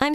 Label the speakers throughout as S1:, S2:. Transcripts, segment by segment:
S1: I'm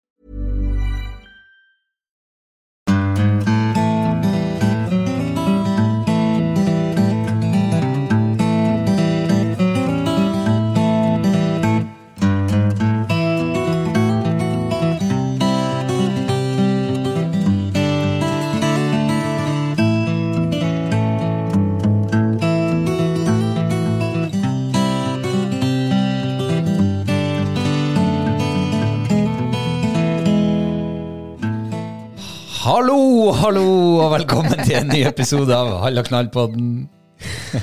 S2: Hallo, hallo, og velkommen til en ny episode av Halla knall-podden.
S3: Ja,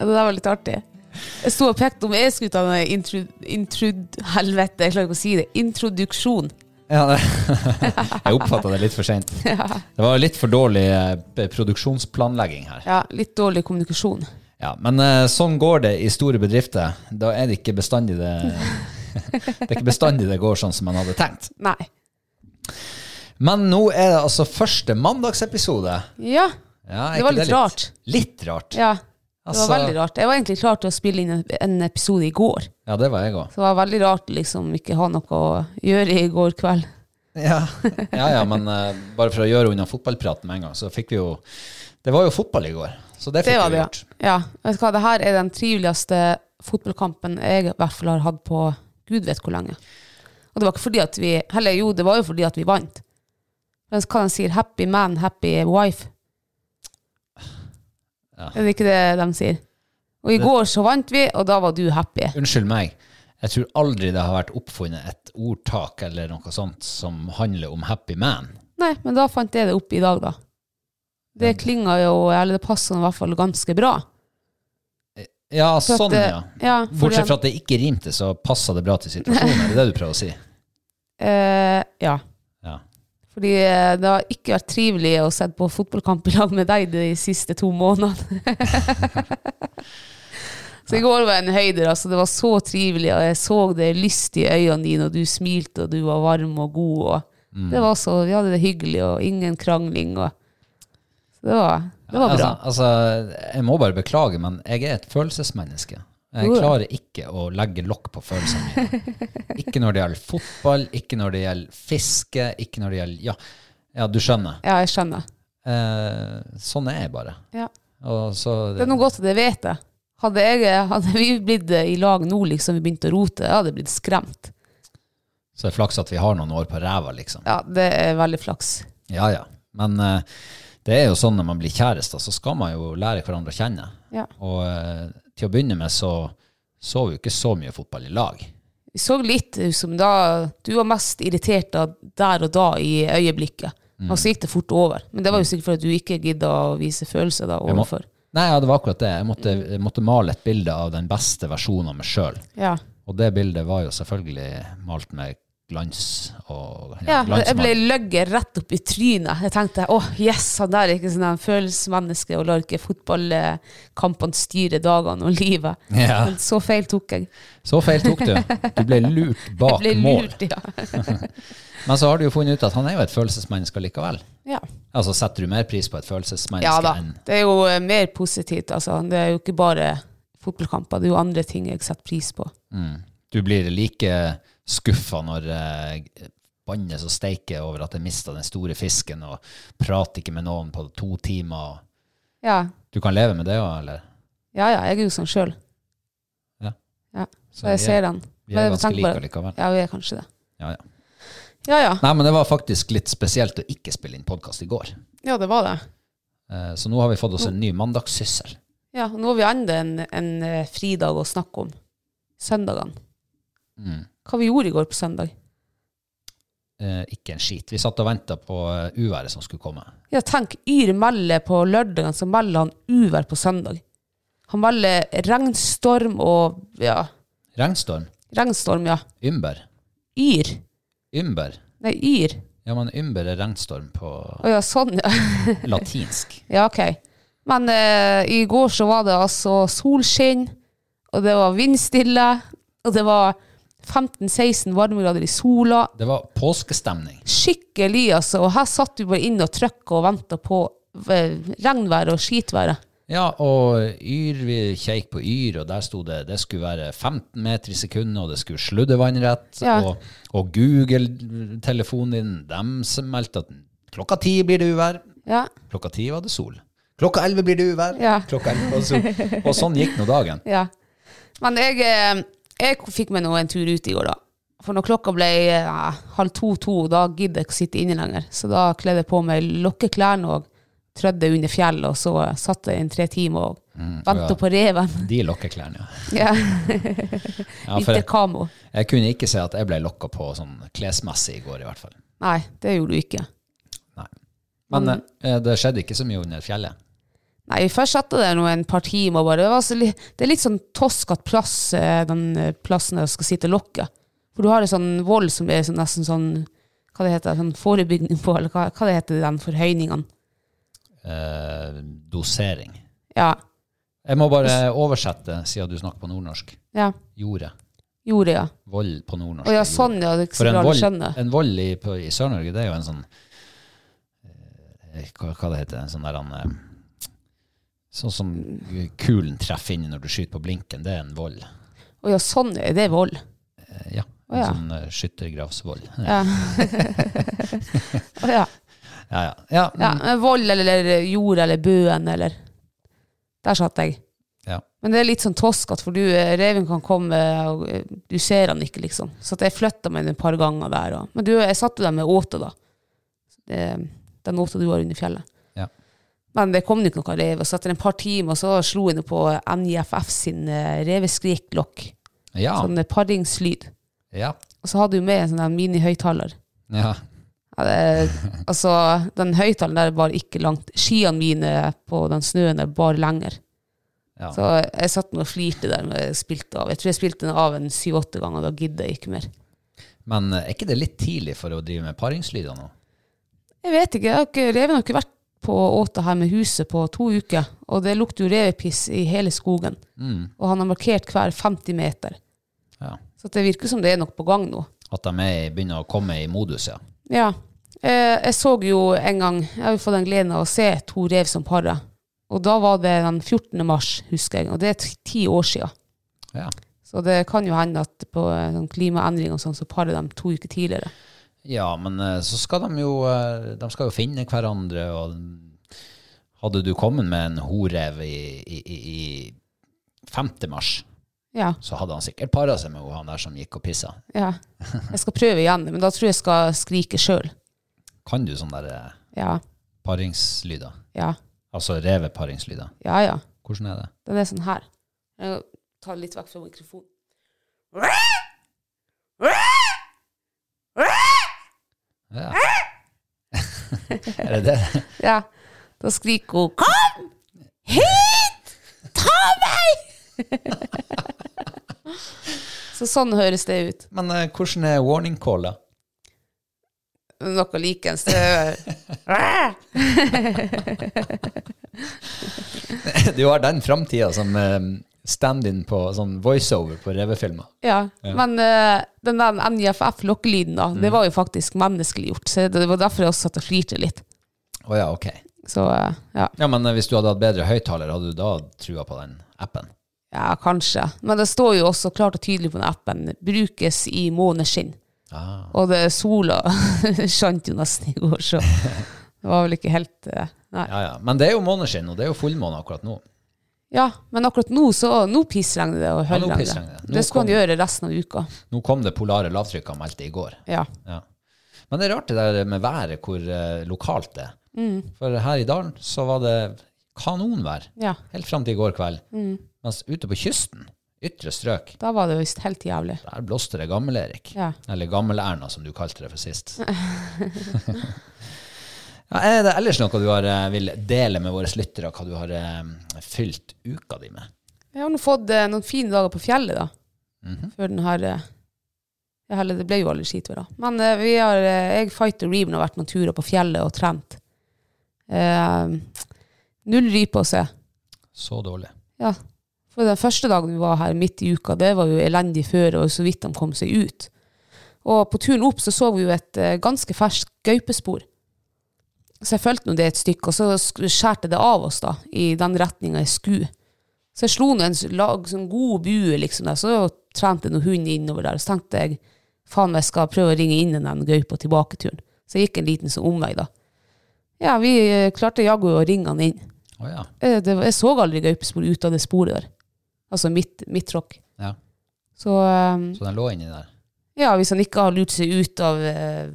S3: Det der var litt artig. Jeg sto og pekte om jeg skulle ta noe intrud... intrud helvete, jeg klarer ikke å si det. Introduksjon.
S2: Ja, det- jeg oppfatta det litt for seint. Det var litt for dårlig eh, p- produksjonsplanlegging her.
S3: Ja, litt dårlig kommunikasjon.
S2: Ja, men eh, sånn går det i store bedrifter. Da er det ikke bestandig det Det er ikke bestandig det går sånn som man hadde tenkt.
S3: Nei.
S2: Men nå er det altså første mandagsepisode.
S3: Ja.
S2: Ja, er
S3: Det var
S2: ikke
S3: litt rart.
S2: Litt rart.
S3: ja. Det
S2: Altså-
S3: var veldig rart. Jeg var egentlig klar til å spille inn en- en episode i går.
S2: Altså, Ja, det var jeg òg.
S3: Så det var veldig rart liksom ikke ha noe å gjøre i går kveld.
S2: Ja. ja, ja, men eh, bare for å gjøre unna fotballpraten med en gang, så fikk vi jo Det var jo fotball i går, så det fikk
S3: Det var
S2: vi
S3: det, ja.
S2: gjort.
S3: ja. Vet du hva, det her er den triveligste fotballkampen jeg i hvert fall har hatt på gud vet hvor lenge. Og det var ikke fordi at vi Heller jo, det var jo fordi at vi vant. Men hva de sier? Happy man, happy wife.
S2: Ja.
S3: Er det ikke det de sier? Og i
S2: Det-
S3: går så vant vi, og da var du happy.
S2: Unnskyld meg. Jeg tror aldri det har vært oppfunnet et ordtak eller noe sånt som handler om happy man.
S3: Nei, men da fant jeg det opp i dag, da. Det klinga jo, eller det passa i hvert fall ganske bra.
S2: Ja,
S3: For at
S2: sånn,
S3: det-
S2: ja.
S3: ja, for
S2: Bortsett
S3: den-
S2: fra at det ikke rimte, så passa det bra til situasjonen. Er det det du prøver å si?
S3: Eh, ja.
S2: Ja.
S3: Fordi eh, det har ikke vært trivelig å se på fotballkamp i lag med deg de siste to månedene. så i går var en høyder, altså. Det var så trivelig, og jeg så det lyst i øynene dine, og du smilte, og du var varm og god. Og Det var så, Vi hadde det hyggelig, og ingen krangling. Og, så det var, det var bra.
S2: Altså, altså, jeg må bare beklage, men jeg er et følelsesmenneske. Jeg
S3: Du er.
S2: klarer ikke å legge lokk på følelsene mine. Ikke når det gjelder fotball, ikke når det gjelder fiske, ikke når det gjelder Ja, ja du skjønner.
S3: Ja, jeg skjønner.
S2: Eh, sånn er jeg bare.
S3: Ja.
S2: Og så
S3: Det er noe godt at jeg vet det. Hadde, jeg, hadde vi blitt i lag nå, liksom, vi begynte å rote, jeg hadde blitt skremt.
S2: Så det er flaks at vi har noen år på ræva, liksom.
S3: Ja, det er veldig flaks.
S2: Ja, ja. Men eh, det er jo sånn når man blir kjærester, så skal man jo lære hverandre å kjenne.
S3: Ja.
S2: Og eh, til å begynne med så så vi jo ikke så mye fotball i lag.
S3: Vi så litt ut som da du var mest irritert da, der og da i øyeblikket.
S2: Mm.
S3: Og så gikk det fort over. Men det var jo sikkert fordi du ikke gidda å vise følelser da
S2: Jeg må-
S3: overfor.
S2: Nei, ja, det var akkurat det. Jeg måtte, jeg måtte male et bilde av den beste versjonen av meg sjøl.
S3: Ja.
S2: Og det bildet var jo selvfølgelig malt med glans og
S3: Ja, jeg ble
S2: glansmann.
S3: løgget rett opp i trynet. Jeg tenkte åh, yes, han der er ikke sånn en følelsesmenneske og lar ikke fotballkampene styre dagene og livet.
S2: Ja.
S3: Men så feil tok jeg.
S2: Så feil tok du. Du ble lurt bak
S3: Jeg ble
S2: mål.
S3: lurt, ja.
S2: Men så har du jo funnet ut at han er jo et følelsesmenneske likevel.
S3: ja.
S2: Altså setter du mer pris på et
S3: Ja
S2: følelsesmenneske
S3: da.
S2: enn
S3: Det er jo eh, mer positivt, altså. Det er jo ikke bare fotballkamper, det er jo andre ting jeg setter pris på.
S2: Mm. Du blir like skuffa når eh, bannes og steiker over at jeg mista den store fisken, og prater ikke med noen på to timer.
S3: Ja,
S2: Du kan leve med det òg, eller?
S3: ja, ja jeg er jo sånn sjøl.
S2: Ja.
S3: Ja.
S2: Så
S3: Så jeg
S2: vi er-
S3: ser den.
S2: Vi
S3: Men
S2: er
S3: jeg
S2: ganske
S3: tenker bare-
S2: like likevel.
S3: Ja, vi er kanskje det.
S2: Ja, ja.
S3: Ja, ja.
S2: Nei, men det var faktisk litt spesielt å ikke spille inn podkast i går.
S3: Ja, det var det.
S2: Eh, Så nå har vi fått oss en ny mandagssyssel.
S3: Ja, og nå har vi enda en, en eh, fridag å snakke om. Søndagene.
S2: Mm.
S3: Hva vi gjorde i går på søndag?
S2: Eh, Ikke en skit. Vi satt og venta på eh, uværet som skulle komme.
S3: Ja, tenk, Yr melder på lørdagen, så melder han uvær på søndag. Han melder regnstorm og Ja,
S2: Regnstorm.
S3: regnstorm, ja.
S2: Ymber.
S3: Yr.
S2: Ymber.
S3: Nei, yr.
S2: Ja, men ymber er regnstorm på
S3: Å ja, sånn, ja.
S2: latinsk.
S3: ja, ok. Men eh, i går så var det altså solskinn, og det var vindstille, og det var 15-16 varmegrader i sola.
S2: Det var påskestemning.
S3: Skikkelig, altså. Og her satt vi bare inne og trykka og venta på eh, regnværet og skitværet.
S2: Ja, og yr, vi kjeik på yr, og der sto det det skulle være 15 meter i sekundet, og det skulle sludde vannrett.
S3: Ja.
S2: Og, og Google-telefonen din, dem som meldte at klokka ti blir det uvær.
S3: Ja.
S2: Klokka ti var det sol. Klokka elleve blir det uvær.
S3: Ja.
S2: Klokka 11 var det sol. Og sånn gikk nå dagen.
S3: ja. Men jeg, eh, jeg fikk meg nå en tur ut i går, da. For når klokka ble eh, halv to-to, da gidder jeg ikke å sitte inne lenger. Så da kledde jeg på meg lokkeklærne og trødde under fjellet, og så eh, satt jeg en tre timer og venta
S2: Mm, ja.
S3: på reven.
S2: De lokkeklærne, ja.
S3: ja.
S2: ja for jeg,
S3: Vinterkamo.
S2: jeg kunne ikke se at jeg ble lokka på sånn klesmessig i går, i hvert fall.
S3: Nei, det gjorde du ikke.
S2: Nei. Men
S3: Mm.
S2: eh, det skjedde ikke så mye under fjellet.
S3: Nei, vi først satte der nå en par timer og bare. Det, var så li det er litt sånn toskete plass, eh, den eh, plassen der du skal sitte og lokke. For du har en sånn vold som er sånn, nesten sånn, hva det heter, sånn forebygning på, eller hva, hva det heter, den forhøyningene.
S2: Eh, dosering.
S3: Ja,
S2: Jeg må bare oversette, siden du snakker på nordnorsk.
S3: ja,
S2: Jordet.
S3: gjorde jeg.
S2: Vold på nordnorsk.
S3: Og
S2: er
S3: ja,
S2: jordet.
S3: sånn, ja, det er ikke
S2: For
S3: så
S2: en
S3: bra du
S2: vold,
S3: skjønner.
S2: en vold i, på, i Sør-Norge, det er jo en sånn eh, hva, hva det heter En sånn der han eh, Sånn som kulen treffer inn når du skyter på blinken, det er en vold.
S3: Og ja, sånn, ja, det er vold.
S2: Eh, ja.
S3: Å,
S2: En
S3: ja.
S2: sånn eh, skyttergravsvold. Ja.
S3: Ja. Å ja.
S2: Ja, ja. ja. mm,
S3: ja, men vold eller jord eller bøen eller. Der satt jeg.
S2: ja.
S3: Men det er litt sånn toskete, for du, eh, reven kan komme, og eh, du ser han ikke, liksom. Så at jeg flytta meg et par ganger der. Og. Men du, jeg satte dem med åta, da. Det, den åta du har under fjellet.
S2: Ja.
S3: Men det kom jo ikke noe rev. Og så etter et par timer så slo jeg nå på NIFF sin eh, reveskrikklokk.
S2: Ja.
S3: Sånn eh, paringslyd.
S2: ja.
S3: Og så hadde hun med en sånn der mini-høyttaler.
S2: ja.
S3: Ja, det- altså, den høyttaleren der var ikke langt. Skiene mine på den snøen der var lenger.
S2: Ja.
S3: Så jeg satt meg og flirte der når jeg spilte av. Jeg tror jeg spilte den av en syv-åtte ganger, da gidder jeg ikke mer.
S2: Men eh, er ikke det litt tidlig for å drive med paringslyder nå?
S3: Jeg vet ikke, jeg har ikke, reven har ikke vært på åta her med huset på to uker, og det lukter jo revepiss i hele skogen.
S2: Mm,
S3: Og han har markert hver 50 meter.
S2: Ja.
S3: Så det virker som det er noe på gang nå.
S2: At de er, begynner å komme i modus, ja.
S3: Ja. Eh, jeg så jo en gang, jeg har jo fått den gleden av å se to rev som parer. Og da var det den 14. mars, husker jeg, og det er ti- ti år siden.
S2: ja.
S3: Så det kan jo hende at på eh, sånn klimaendringer og sånn, så parer de to uker tidligere.
S2: Ja, men eh, så skal de jo eh, De skal jo finne hverandre, og hadde du kommet med en horev i, i, i, i 5. mars,
S3: Ja.
S2: så hadde han sikkert para seg med han der som gikk og pissa.
S3: Ja. Jeg skal prøve igjen, men da tror jeg jeg skal skrike sjøl.
S2: Kan du sånne der eh,
S3: Ja.
S2: paringslyder?
S3: Ja.
S2: Altså reveparingslyder.
S3: Ja, ja.
S2: Hvordan er det?
S3: Den er sånn her. Jeg tar litt vekk fra mikrofonen.
S2: Ja. er det det?
S3: Ja. Da skriker hun 'Kom hit! Ta meg!' Så sånn høres det ut.
S2: Men eh, hvordan er warning calla?
S3: noe likens. Det er-
S2: Du har den framtida som eh, stand-in på sånn voiceover på revefilmer.
S3: Ja, men eh, den der NJFF-lokkelyden, da, det var jo faktisk menneskeliggjort. Så det var derfor jeg også satt og flirte litt.
S2: Å ja, ok.
S3: Så eh, ja.
S2: Ja, Men eh, hvis du hadde hatt bedre høyttaler, hadde du da trua på den appen?
S3: ja, kanskje. Men det står jo også klart og tydelig på den appen 'brukes i måneskinn'.
S2: Ah.
S3: Og det sola skjant jo nesten i går, så det var vel ikke helt eh, Nei.
S2: Ja, ja. Men det er jo måneskinn, og det er jo fullmåne akkurat nå.
S3: Ja, men akkurat nå så, nå pissregner det og
S2: Ja, nå
S3: høljregner
S2: pissregner det.
S3: det.
S2: Nå
S3: Det skulle han
S2: kom-
S3: gjøre resten av uka.
S2: Nå kom det polare lavtrykk han meldte i går.
S3: Ja.
S2: Ja. Men det er rart det der med været, hvor eh, lokalt det er. For her i dalen så var det kanonvær
S3: ja.
S2: helt fram til i går kveld. Mens ute på kysten, ytre strøk,
S3: Da var det visst helt jævlig.
S2: der blåste det Gammel-Erik.
S3: Ja.
S2: Eller Gammel-Erna, som du kalte det for sist. ja, er det ellers noe du har, eh, vil dele med våre lyttere, hva du har eh, fylt uka di med?
S3: Jeg har nå fått eh, noen fine dager på fjellet, da.
S2: Mhm.
S3: Før den her eh, ja, Eller det ble jo aldri skitur, da. Men eh, vi har, eh, jeg, Fighter Reven, har vært noen turer på fjellet og trent. Eh, null rype å se.
S2: Så dårlig.
S3: Ja. For den første dagen vi var her midt i uka, det var jo elendig føre, og så vidt de kom seg ut. Og på turen opp så så vi jo et eh, ganske ferskt gaupespor. Så jeg fulgte nå det et stykke, og så sk- skjærte det av oss da, i den retninga jeg skulle. Så jeg slo nå en s- lag, sånn god bue, liksom, der, så trente noen hund innover der. Så tenkte jeg faen, jeg skal prøve å ringe inn den gaupa tilbake turen. Så jeg gikk en liten sånn omvei, da. Ja, vi eh, klarte jaggu å ringe han inn.
S2: Å ja.
S3: Eh, det, var- jeg så aldri gaupespor ut av det sporet der. Altså mitt, mitt tråkk.
S2: ja.
S3: Så eh,
S2: Så den lå inni der.
S3: ja, hvis han ikke har lurt seg ut av eh,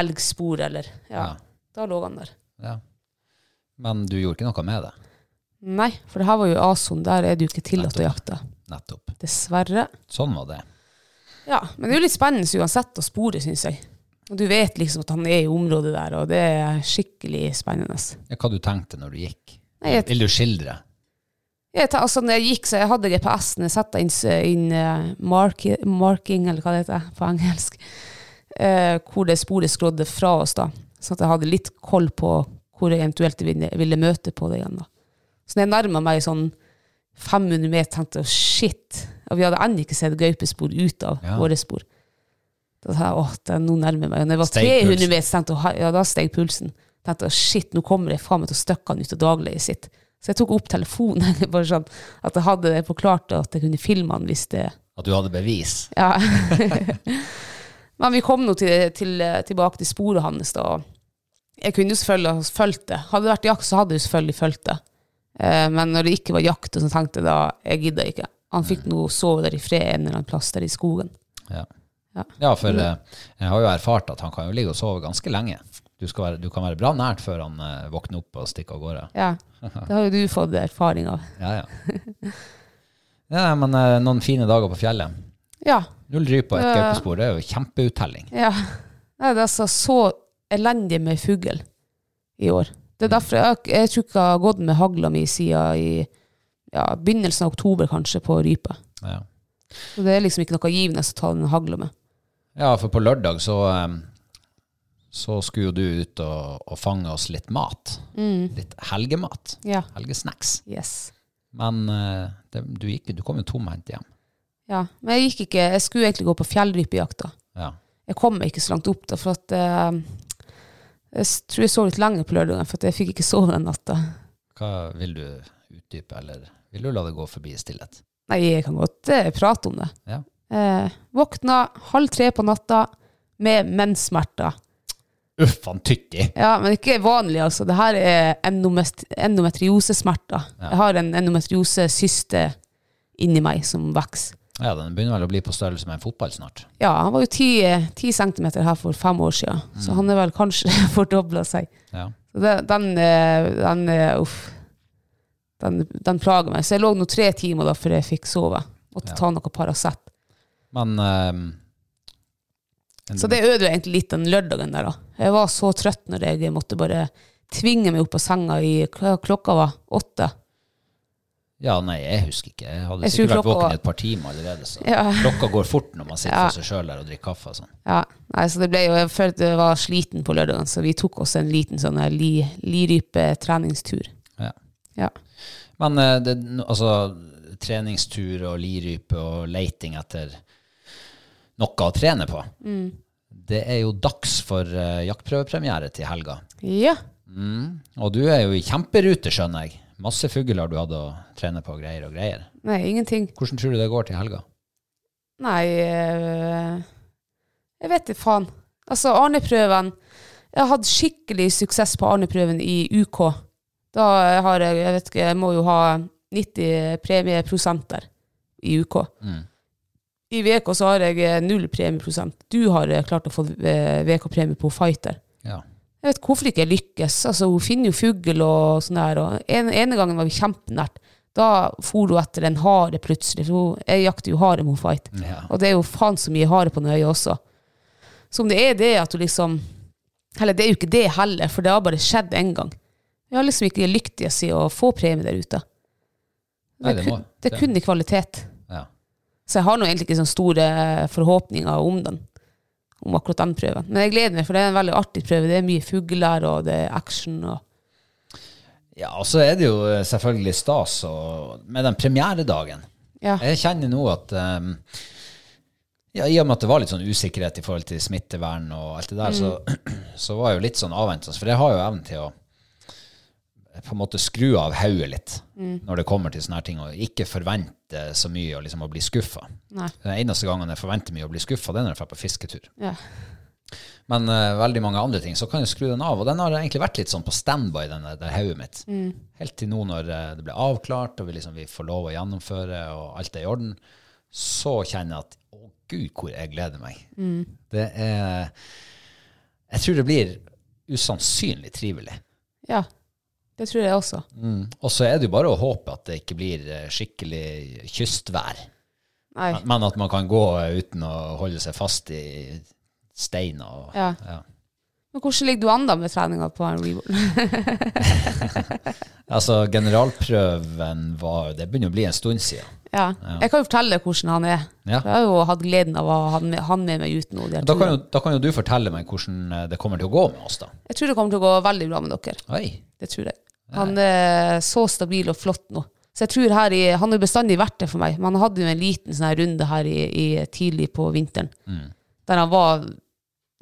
S3: elgspor eller ja,
S2: Ja.
S3: da lå han der.
S2: Ja. Men du gjorde ikke noe med det?
S3: Nei, for det her var jo A-sonen. Der er det jo ikke tillatt å jakte.
S2: Nettopp.
S3: Dessverre.
S2: Sånn var det.
S3: Ja, men det er jo litt spennende uansett å spore, syns jeg. Og du vet liksom at han er i området der, og det er skikkelig spennende.
S2: Ja, hva du tenkte når du gikk?
S3: Nei, jeg-
S2: Vil du skildre?
S3: Jeg, tar- altså, når jeg gikk, så jeg hadde GPS-en, jeg satte inn, s- inn eh, marki- marking, eller hva det heter på engelsk, eh, hvor det sporet skrådde fra oss da, sånn at jeg hadde litt koll på hvor jeg eventuelt ville, ville møte på det igjen da. Så når jeg nærmet meg sånn 500 meter, tenkte jeg, shit, og vi hadde enda ikke sett gaupespor ut av
S2: Ja.
S3: våre spor. Da tenkte jeg, åh, det er noe nærmere meg. Og når jeg var
S2: Steg
S3: 300
S2: pulsen.
S3: meter, så tenkte jeg, «Hei», ja, da steg pulsen. Tenkte jeg, shit, nå kommer jeg faen meg til å støkke han ut av dagleiet sitt. Så jeg tok opp telefonen, bare sånn, at jeg hadde det på klart, og at jeg kunne filme han hvis det...
S2: At du hadde bevis?
S3: Ja. Men vi kom nå til, til, tilbake til sporet hans da. og Jeg kunne jo selvfølgelig ha fulgt det. Hadde det vært jakt, så hadde jeg jo selvfølgelig fulgt det. Eh, men når det ikke var jakt, så tenkte jeg da, jeg gidder ikke. Han fikk nå sove der i fred en eller annen plass der i skogen.
S2: Ja.
S3: Ja.
S2: Ja, for
S3: Mm.
S2: eh, jeg har jo erfart at han kan jo ligge og sove ganske lenge. Du, skal være, du kan være bra nært før han eh, våkner opp og stikker av gårde.
S3: Ja, det har jo du fått erfaring av.
S2: Ja, ja. ja men eh, noen fine dager på fjellet.
S3: Ja,
S2: Null rype og et
S3: Ja.
S2: gaupespor, det er jo kjempeuttelling.
S3: ja. Nei, det er altså så elendig med fugl i år. Det er derfor jeg, jeg tror ikke jeg har gått med hagla mi siden i ja, begynnelsen av oktober kanskje på rype.
S2: Ja.
S3: Så det er liksom ikke noe givende å ta den hagla med.
S2: ja, for på lørdag så, eh, så skulle jo du ut og, og fange oss litt mat. Litt helgemat.
S3: Ja.
S2: Helgesnacks.
S3: Yes.
S2: Men eh, det, du, gikk, du kom jo tomhendt hjem.
S3: Ja, men jeg gikk ikke, jeg skulle egentlig gå på fjellrypejakt da.
S2: Ja.
S3: Jeg kom meg ikke så langt opp da, for at eh, jeg s- tror jeg så litt lenger på lørdagen, for at jeg fikk ikke sove den natta.
S2: Hva vil du utdype, eller vil du la det gå forbi i stillhet?
S3: Nei, jeg kan godt eh, prate om det.
S2: Ja.
S3: Eh, våkna halv tre på natta med menssmerter.
S2: Uff, han tytti!
S3: Ja, men ikke vanlig, altså. Det her er endomest- endometriosesmerter. Jeg har en endometriosesyste inni meg som vokser.
S2: Ja, den begynner vel å bli på størrelse med en fotball snart.
S3: Ja, han var jo ti, ti centimeter her for fem år siden, så han er vel kanskje fordobla seg.
S2: Ja.
S3: Så det, den, eh, den, eh, uff, den, den plager meg. Så jeg lå nå tre timer da før jeg fikk sove. Måtte ta noe Paracet.
S2: Men ehm, en-
S3: Så det ødela egentlig litt den lørdagen der, da. Jeg var så trøtt når jeg måtte bare tvinge meg opp av senga i hva klokka var åtte.
S2: Ja, nei, jeg husker ikke. Jeg hadde
S3: Jeg
S2: sikkert
S3: tror
S2: vært våken
S3: klokka-
S2: i et par timer allerede. Så.
S3: Ja.
S2: Klokka går fort når man sitter
S3: Ja.
S2: for seg sjøl der og drikker kaffe. og Sånn.
S3: Ja, nei, så det ble jo, Jeg følte jeg var sliten på lørdagen, så vi tok oss en liten sånn her li, lirype-treningstur.
S2: Ja.
S3: Ja.
S2: Men eh, det, no- altså, treningstur og lirype og leiting etter noe å trene på,
S3: Mm.
S2: det er jo dags for eh, jaktprøvepremiere til helga.
S3: ja.
S2: Og du er jo i kjemperute, skjønner jeg. Masse fugler du hadde å trene på, greier og greier.
S3: Nei, ingenting.
S2: Hvordan tror du det går til helga?
S3: Nei eh, Jeg vet ikke faen. Altså, Arneprøven Jeg har hatt skikkelig suksess på Arneprøven i UK. Da har jeg Jeg vet ikke, jeg må jo ha 90 premieprosenter i UK. I VK så har jeg eh, null premieprosent. Du har eh, klart å få eh, VK-premie på Fighter.
S2: Ja.
S3: Jeg vet hvorfor ikke jeg lykkes. Altså, hun finner jo fugl og sånn der. Og en, ene gangen var vi kjempenært. Da for hun etter en hare plutselig. For hun, jeg jakter jo hare med hun fight.
S2: Ja.
S3: Og det er jo faen så mye hare på Nøye også. Så om det er det at du liksom Eller det er jo ikke det heller, for det har bare skjedd én gang. Jeg har liksom ikke lyktes i å få premie der ute.
S2: Nei, det
S3: er
S2: må-
S3: kun- det er kun i kvalitet.
S2: Ja.
S3: Så jeg har nå egentlig ikke sånne store eh, forhåpninger om den. Om akkurat den prøven. Men jeg gleder meg, for det er en veldig artig prøve. Det er mye fugler, og det er action. og...
S2: Ja, og så er det jo eh, selvfølgelig stas å- med den premieredagen.
S3: Ja.
S2: Jeg kjenner nå at ehm, ja, I og med at det var litt sånn usikkerhet i forhold til smittevern og alt det der,
S3: Mm.
S2: så, så var jeg jo litt sånn avventende. For jeg har jo evnen til å eh, på en måte skru av hodet litt
S3: Mm.
S2: når det kommer til sånne her ting, og ikke forvente så mye og liksom å bli skuffa.
S3: Nei.
S2: Den eneste gangen jeg forventer mye å bli skuffa, det er når jeg drar på fisketur.
S3: Ja.
S2: Men eh, veldig mange andre ting, så kan jeg skru den av. Og den har egentlig vært litt sånn på standby, den der, der hodet mitt. Helt til nå når eh, det ble avklart, og vi, liksom, vi får lov å gjennomføre, og alt er i orden, så kjenner jeg at å gud, hvor jeg gleder meg. Det er Jeg tror det blir usannsynlig trivelig.
S3: ja. Det tror jeg også.
S2: Og så er det jo bare å håpe at det ikke blir eh, skikkelig kystvær.
S3: Nei.
S2: Men- Men at man kan gå eh, uten å holde seg fast i steiner og
S3: Ja.
S2: ja.
S3: Men hvordan ligger du an da med treninga på en reborn?
S2: Altså, generalprøven var Det begynner å bli en stund siden.
S3: ja. Jeg kan jo fortelle deg hvordan han er.
S2: Ja.
S3: Jeg har jo hatt gleden av å ha han med, han med meg ut nå. de her
S2: Da kan,
S3: turene.
S2: jo, da kan jo du fortelle meg hvordan eh, det kommer til å gå med oss, da.
S3: Jeg tror det kommer til å gå veldig bra med dere.
S2: Oi.
S3: Det tror jeg. Han er så stabil og flott nå. Så jeg tror her i, Han har jo bestandig vært det for meg. Men han hadde jo en liten sånn her runde her i, i tidlig på vinteren,
S2: Mm.
S3: der han var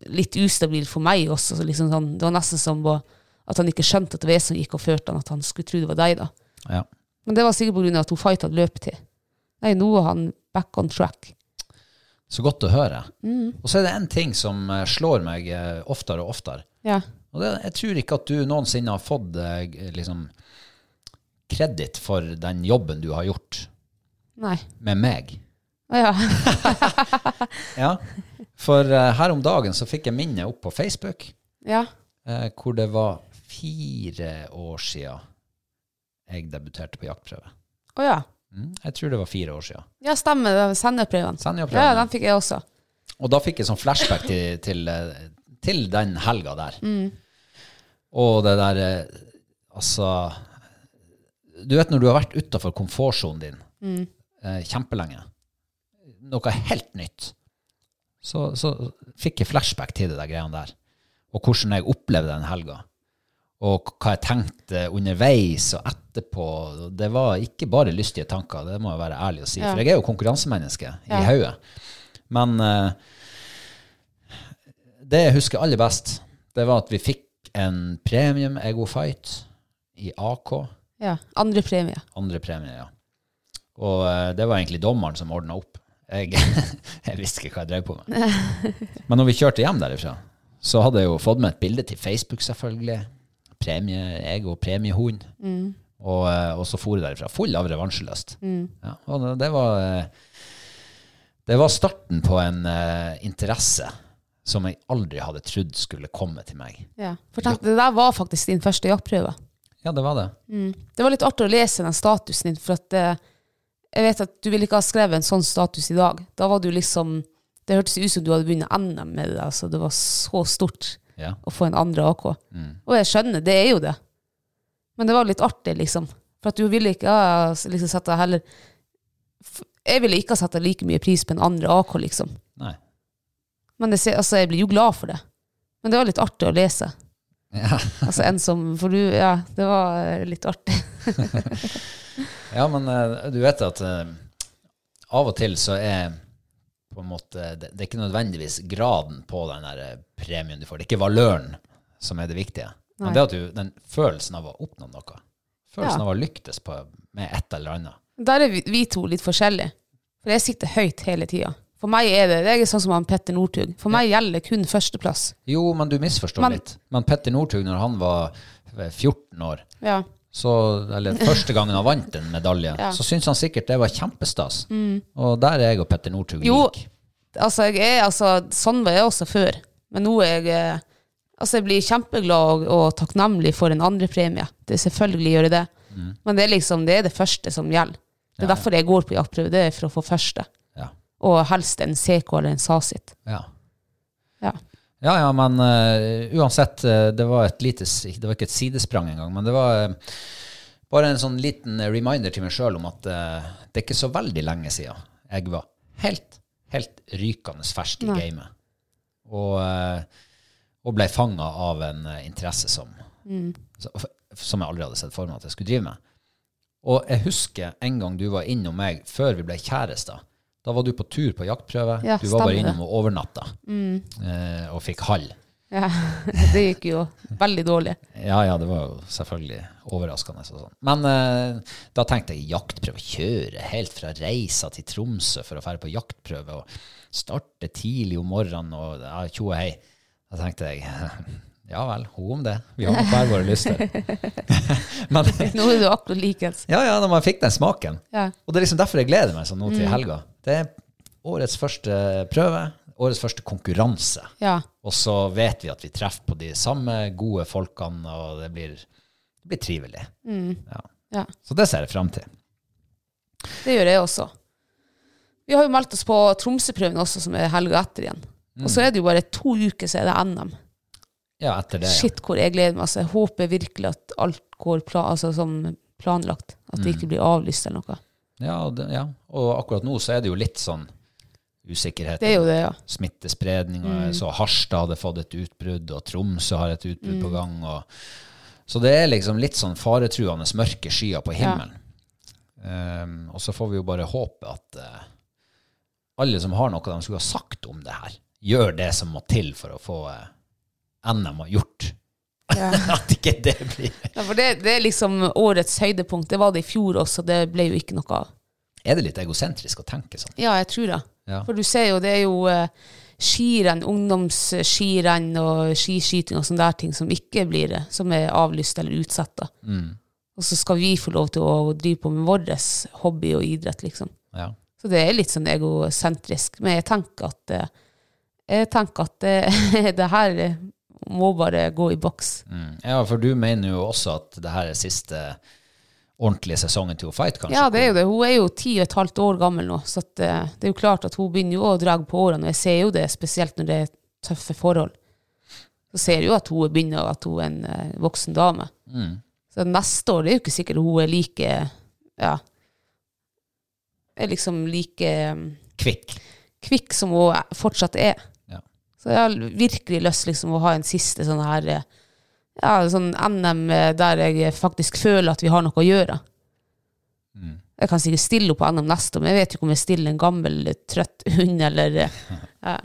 S3: litt ustabil for meg også. Så liksom sånn, det var nesten som å- at han ikke skjønte at det var jeg som gikk og førte han, at han skulle tro det var deg. da.
S2: Ja.
S3: Men det var sikkert pga. at hun Fight hadde løpet til. Nei, nå er han back on track.
S2: Så godt å høre.
S3: Mm.
S2: Og så er det én ting som eh, slår meg eh, oftere og oftere.
S3: Ja.
S2: Og det, jeg tror ikke at du noensinne har fått eh, g- liksom kreditt for den jobben du har gjort
S3: Nei.
S2: med meg.
S3: Å ja.
S2: Ja. For eh, her om dagen så fikk jeg minne opp på Facebook.
S3: ja.
S2: eh, hvor det var fire år siden jeg debuterte på jaktprøve.
S3: Å ja.
S2: Mm, jeg tror det var fire år siden.
S3: Ja, stemmer. det var Sendeprøven.
S2: Sendeprøven,
S3: Ja,
S2: ja.
S3: den fikk jeg også.
S2: Og da fikk jeg sånn flashback til, til, eh, til den helga der. Og det der eh, Altså Du vet når du har vært utafor komfortsonen din
S3: Mm.
S2: eh, kjempelenge, noe helt nytt, så, så fikk jeg flashback til det der greiene der. Og hvordan jeg opplevde den helga. Og hva jeg tenkte underveis og etterpå. Det var ikke bare lystige tanker, det må jeg være ærlig og si.
S3: Ja.
S2: For jeg er jo konkurransemenneske
S3: Ja.
S2: i hodet. Men eh, det jeg husker aller best, det var at vi fikk en premium Ego Fight i AK.
S3: Ja. Andre premie.
S2: Andre premie, ja. Og eh, det var egentlig dommeren som ordna opp. Jeg, jeg visste ikke hva jeg drev på med. Men når vi kjørte hjem derifra, så hadde jeg jo fått med et bilde til Facebook, selvfølgelig. Premie, jeg og premiehund. Og, eh, og så for jeg derifra full av revansjelyst. Ja, og det- det var eh, Det var starten på en eh, interesse som jeg aldri hadde trodd skulle komme til meg.
S3: Ja. For tenk, det der var faktisk din første jaktprøve.
S2: Ja, det var det.
S3: Det var litt artig å lese den statusen din, for at eh, jeg vet at du ville ikke ha skrevet en sånn status i dag. Da var du liksom Det hørtes ut som du hadde vunnet NM med det. Altså, det var så stort
S2: Ja. Mm.
S3: å få en andre AK. Og jeg skjønner, det er jo det. Men det var litt artig, liksom. For For at du ville ikke ha liksom, satt deg heller f- Jeg ville ikke ha satt deg like mye pris på en andre AK, liksom.
S2: Nei.
S3: Men det, ser- altså, jeg blir jo glad for det. Men det var litt artig å lese.
S2: Ja.
S3: Altså en som For du, ja, det var eh, litt artig.
S2: Ja, men eh, du vet at eh, av og til så er på en måte, det, det er ikke nødvendigvis graden på den der eh, premien du får. Det er ikke valøren som er det viktige.
S3: Nei.
S2: Men det at du, den følelsen av å oppnå noe, følelsen
S3: Ja.
S2: av å lyktes på, med et eller annet.
S3: Der er vi, vi to litt forskjellige. For jeg sikter høyt hele tida. For meg er det, det er sånn som han Petter Northug. For meg gjelder kun førsteplass.
S2: Jo, men du misforstår
S3: Men-
S2: litt. Men Petter Northug, når han var eh, 14 år,
S3: Ja.
S2: så, eller første gangen han vant en medalje,
S3: Ja. Mm.
S2: så syntes han sikkert det var kjempestas. Og der er jeg og Petter Northug
S3: Jo.
S2: lik.
S3: Altså, jeg er, altså, sånn var jeg også før. Men nå er jeg eh, Altså, jeg blir kjempeglad og, og takknemlig for en andrepremie. Selvfølgelig gjør jeg det. Men det er liksom det er det første som gjelder. Det er derfor jeg går på jaktprøve. Det er for å få første.
S2: Ja.
S3: Og helst en CK eller en Sasit.
S2: ja.
S3: Ja.
S2: Ja, ja, men eh, uansett, eh, det var et lite, si- det var ikke et sidesprang engang, men det var eh, bare en sånn liten reminder til meg sjøl om at eh, det er ikke så veldig lenge siden jeg var helt, helt rykende fersk i gamet. Og, eh, og ble fanga av en eh, interesse som,
S3: Mm.
S2: så- f- som jeg aldri hadde sett for meg at jeg skulle drive med. Og jeg husker en gang du var innom meg før vi ble kjærester. Da var du på tur på jaktprøve.
S3: Ja,
S2: du var bare
S3: stemmer det. Mm.
S2: innom og overnatta eh, og fikk halv.
S3: ja. Det gikk jo veldig dårlig.
S2: Ja, ja, det var jo selvfølgelig overraskende. Og sånn. Men eh, da tenkte jeg jaktprøve, kjøre helt fra Reisa til Tromsø for å fære på jaktprøve, og starte tidlig om morgenen og ja, tjo og hei. Da tenkte jeg, ja vel, ho om det. Vi har nok hver våre lyster. Men
S3: Nå er du akkurat likens.
S2: ja, ja, når man fikk den smaken.
S3: Ja.
S2: Og det er liksom derfor jeg gleder meg sånn nå til helga. Det er årets første prøve, årets første konkurranse.
S3: Ja.
S2: Og så vet vi at vi treffer på de samme gode folkene, og det blir, det blir trivelig. Ja.
S3: Mm. ja.
S2: Så det ser jeg fram til.
S3: Det gjør jeg også. Vi har jo meldt oss på Tromsø-prøven også, som er helga etter igjen. Og så er det jo bare to uker, så er det NM.
S2: Ja, etter det.
S3: Shit, hvor jeg gleder meg. Altså, jeg håper virkelig at alt går pla altså, som planlagt. At det ikke blir avlyst eller noe.
S2: Ja. Ja, og det, ja. Og akkurat nå så er det jo litt sånn usikkerhet.
S3: Det er jo det, ja.
S2: Smittespredning, og
S3: Mm.
S2: så Harstad hadde fått et utbrudd, og Tromsø har et utbrudd
S3: Mm.
S2: på gang. Og, så det er liksom litt sånn faretruende mørke skyer på himmelen. Ehm, og så får vi jo bare håpe at eh, alle som har noe de skulle ha sagt om det her, gjør det som må til for å få eh, NM gjort.
S3: Ja.
S2: at ikke det blir
S3: ja for det, det er liksom årets høydepunkt. Det var det i fjor også, det ble jo ikke noe av.
S2: Er det litt egosentrisk å tenke sånn?
S3: Ja, jeg tror det.
S2: Ja.
S3: For du ser jo, det er jo eh, skirenn, ungdomsskirenn og skiskyting og sånne der ting som ikke blir det, som er avlyst eller utsatt. da. Og så skal vi få lov til å drive på med vår hobby og idrett, liksom.
S2: Ja.
S3: Så det er litt sånn egosentrisk. Men jeg tenker at eh, jeg tenker at eh, det her eh, må bare gå i boks.
S2: Mm. ja, for du mener jo også at det her er siste ordentlige sesongen til å fight, kanskje?
S3: Ja, det er jo det. Hun er jo ti og et halvt år gammel nå, så at, eh, det er jo klart at hun begynner jo å dra på årene. Og jeg ser jo det, spesielt når det er tøffe forhold. Så ser jeg jo at hun begynner at hun er en eh, voksen dame.
S2: Mm.
S3: Så neste år det er jo ikke sikkert hun er like ja, er liksom like eh,
S2: Kvikk.
S3: kvikk som hun fortsatt er.
S2: Ja.
S3: Så jeg har virkelig lyst liksom å ha en siste sånn her eh, ja, sånn NM eh, der jeg faktisk føler at vi har noe å gjøre.
S2: Mm.
S3: Jeg kan sikkert stille henne på NM neste år, men jeg vet jo ikke om jeg stiller en gammel, eh, trøtt hund eller eh, ja.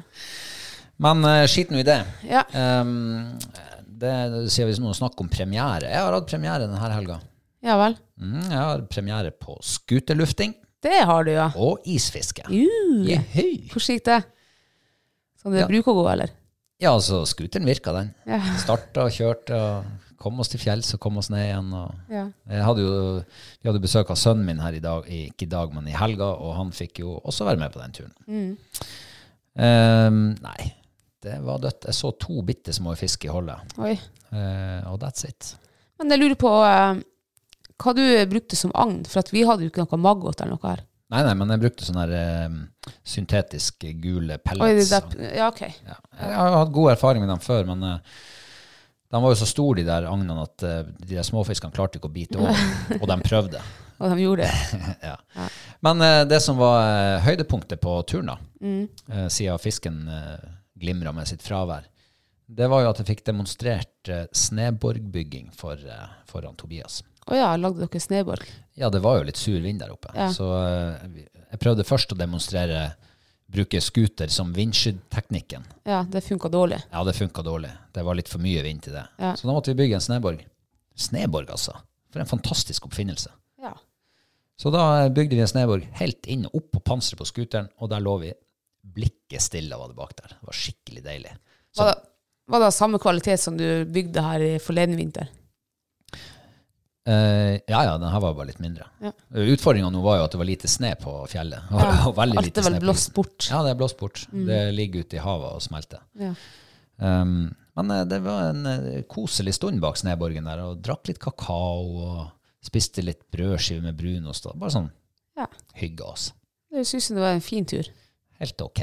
S2: Men uh, skit nå i det.
S3: Ja.
S2: Ehm, det sier vi noe snakk om premiere. Jeg har hatt premiere denne helga.
S3: ja vel.
S2: Mm, jeg har premiere på skuterlufting
S3: Det har du, ja.
S2: og isfiske.
S3: Uh,
S2: Jehøy.
S3: Hvordan gikk det? Sånn det
S2: Ja.
S3: bruker å gå, eller?
S2: Ja, altså, skuteren virka, den.
S3: Ja.
S2: Starta og kjørte og kom oss til fjells og kom oss ned igjen. Og
S3: Ja.
S2: jeg hadde jo, vi hadde besøk av sønnen min her i dag, i- ikke i dag, men i helga, og han fikk jo også være med på den turen.
S3: Mm.
S2: Ehm, nei, det var dødt. Jeg så to bitte små fisk i holdet,
S3: Oi.
S2: Eh, og that's it.
S3: Men jeg lurer på eh, hva du brukte som agn, for at vi hadde jo ikke noe maggot eller noe her.
S2: Nei, nei, men jeg brukte sånne her, eh, syntetiske gule
S3: Oi, det
S2: pellets.
S3: der, ja, ok.
S2: ja. Jeg har hatt god erfaring med dem før, men eh, De var jo så store, de der agnene, at eh, de der småfiskene klarte ikke å bite over. Og de prøvde.
S3: Og de gjorde det.
S2: ja. Men eh, det som var eh, høydepunktet på turen, da,
S3: Mm.
S2: eh, siden fisken eh, glimra med sitt fravær, det var jo at jeg fikk demonstrert eh, sneborgbygging for, eh, foran Tobias.
S3: Å ja, lagde dere sneborg?
S2: Ja, det var jo litt sur vind der oppe.
S3: Ja.
S2: Så eh, vi- jeg prøvde først å demonstrere bruke scooter som vindskyddteknikken.
S3: Ja, det funka dårlig.
S2: Ja, det funka dårlig. Det var litt for mye vind til det.
S3: Ja.
S2: Så da måtte vi bygge en sneborg. Sneborg, altså. For en fantastisk oppfinnelse.
S3: Ja.
S2: Så da eh, bygde vi en sneborg helt inn og opp på panseret på scooteren, og der lå vi. Blikket stille var det bak der. Det var skikkelig deilig. Så,
S3: Var det, var det av samme kvalitet som du bygde her i forleden vinter?
S2: eh, ja, ja, den her var bare litt mindre.
S3: Ja.
S2: Utfordringa nå var jo at det var lite sne på fjellet. Og, og veldig
S3: Alt
S2: lite
S3: er
S2: sne
S3: vel
S2: på
S3: blåst bort.
S2: Ja, det er blåst bort. Det ligger ute i havet og smelter.
S3: Mm. Ja.
S2: Um, men eh, det var en eh, koselig stund bak sneborgen der, og drakk litt kakao og spiste litt brødskive med brunost. og Bare sånn
S3: Ja.
S2: hygge oss.
S3: Det høres ut som det var en fin tur.
S2: Helt ok.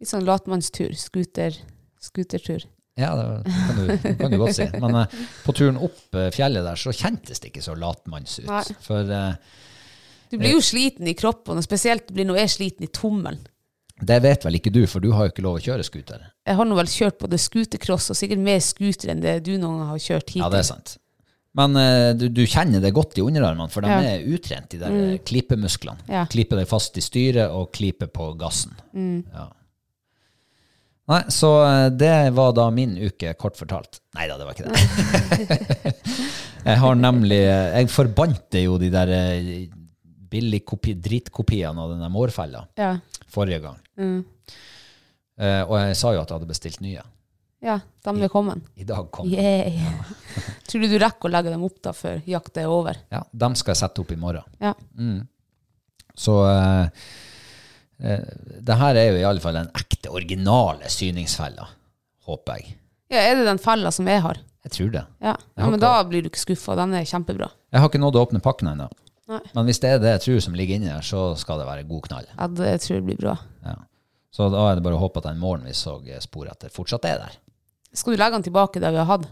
S3: Litt sånn latmannstur. Scooter, scootertur.
S2: Ja, det kan du, det kan du godt si. Men eh, på turen opp eh, fjellet der så kjentes det ikke så latmanns ut.
S3: Nei.
S2: For eh,
S3: Du blir jo sliten i kroppen, og spesielt blir nå jeg sliten i tommelen.
S2: det vet vel ikke du, for du har jo ikke lov å kjøre scooter.
S3: Jeg har nå vel kjørt både scootercross og sikkert mer scooter enn det du noen gang har kjørt hittil.
S2: Ja, det er sant. Men eh, du, du kjenner det godt i underarmene, for de
S3: Ja. Mm.
S2: er utrent, de der eh, klipemusklene.
S3: Ja.
S2: Klipe deg fast i styret og klipe på gassen. Ja. Nei, så eh, det var da min uke, kort fortalt. Nei da, det var ikke det. jeg har nemlig eh, Jeg forbandt jo de der eh, billigkopi, dritkopiene av den der mårfella
S3: Ja. Mm.
S2: forrige gang. Eh, og jeg sa jo at jeg hadde bestilt nye.
S3: ja, de er kommet.
S2: I dag kom de.
S3: Yay. Tror du du rekker å legge dem opp da før jakta er over?
S2: Ja, dem skal jeg sette opp i morgen. Mm.
S3: Ja.
S2: Så eh, eh, det her er jo i alle fall den ekte, originale syningsfella, håper jeg.
S3: ja, er det den fella som jeg har?
S2: Jeg tror det.
S3: Ja, ja men da blir du ikke skuffa. Den er kjempebra.
S2: Jeg har ikke nådd å åpne pakken ennå.
S3: Nei.
S2: Men hvis det er det jeg tror som ligger inni der, så skal det være god knall.
S3: Ja, det jeg tror jeg blir bra.
S2: Ja. Så da er det bare å håpe at den morgenen vi så eh, spor etter, fortsatt er der.
S3: Skal du legge den tilbake der vi har hatt?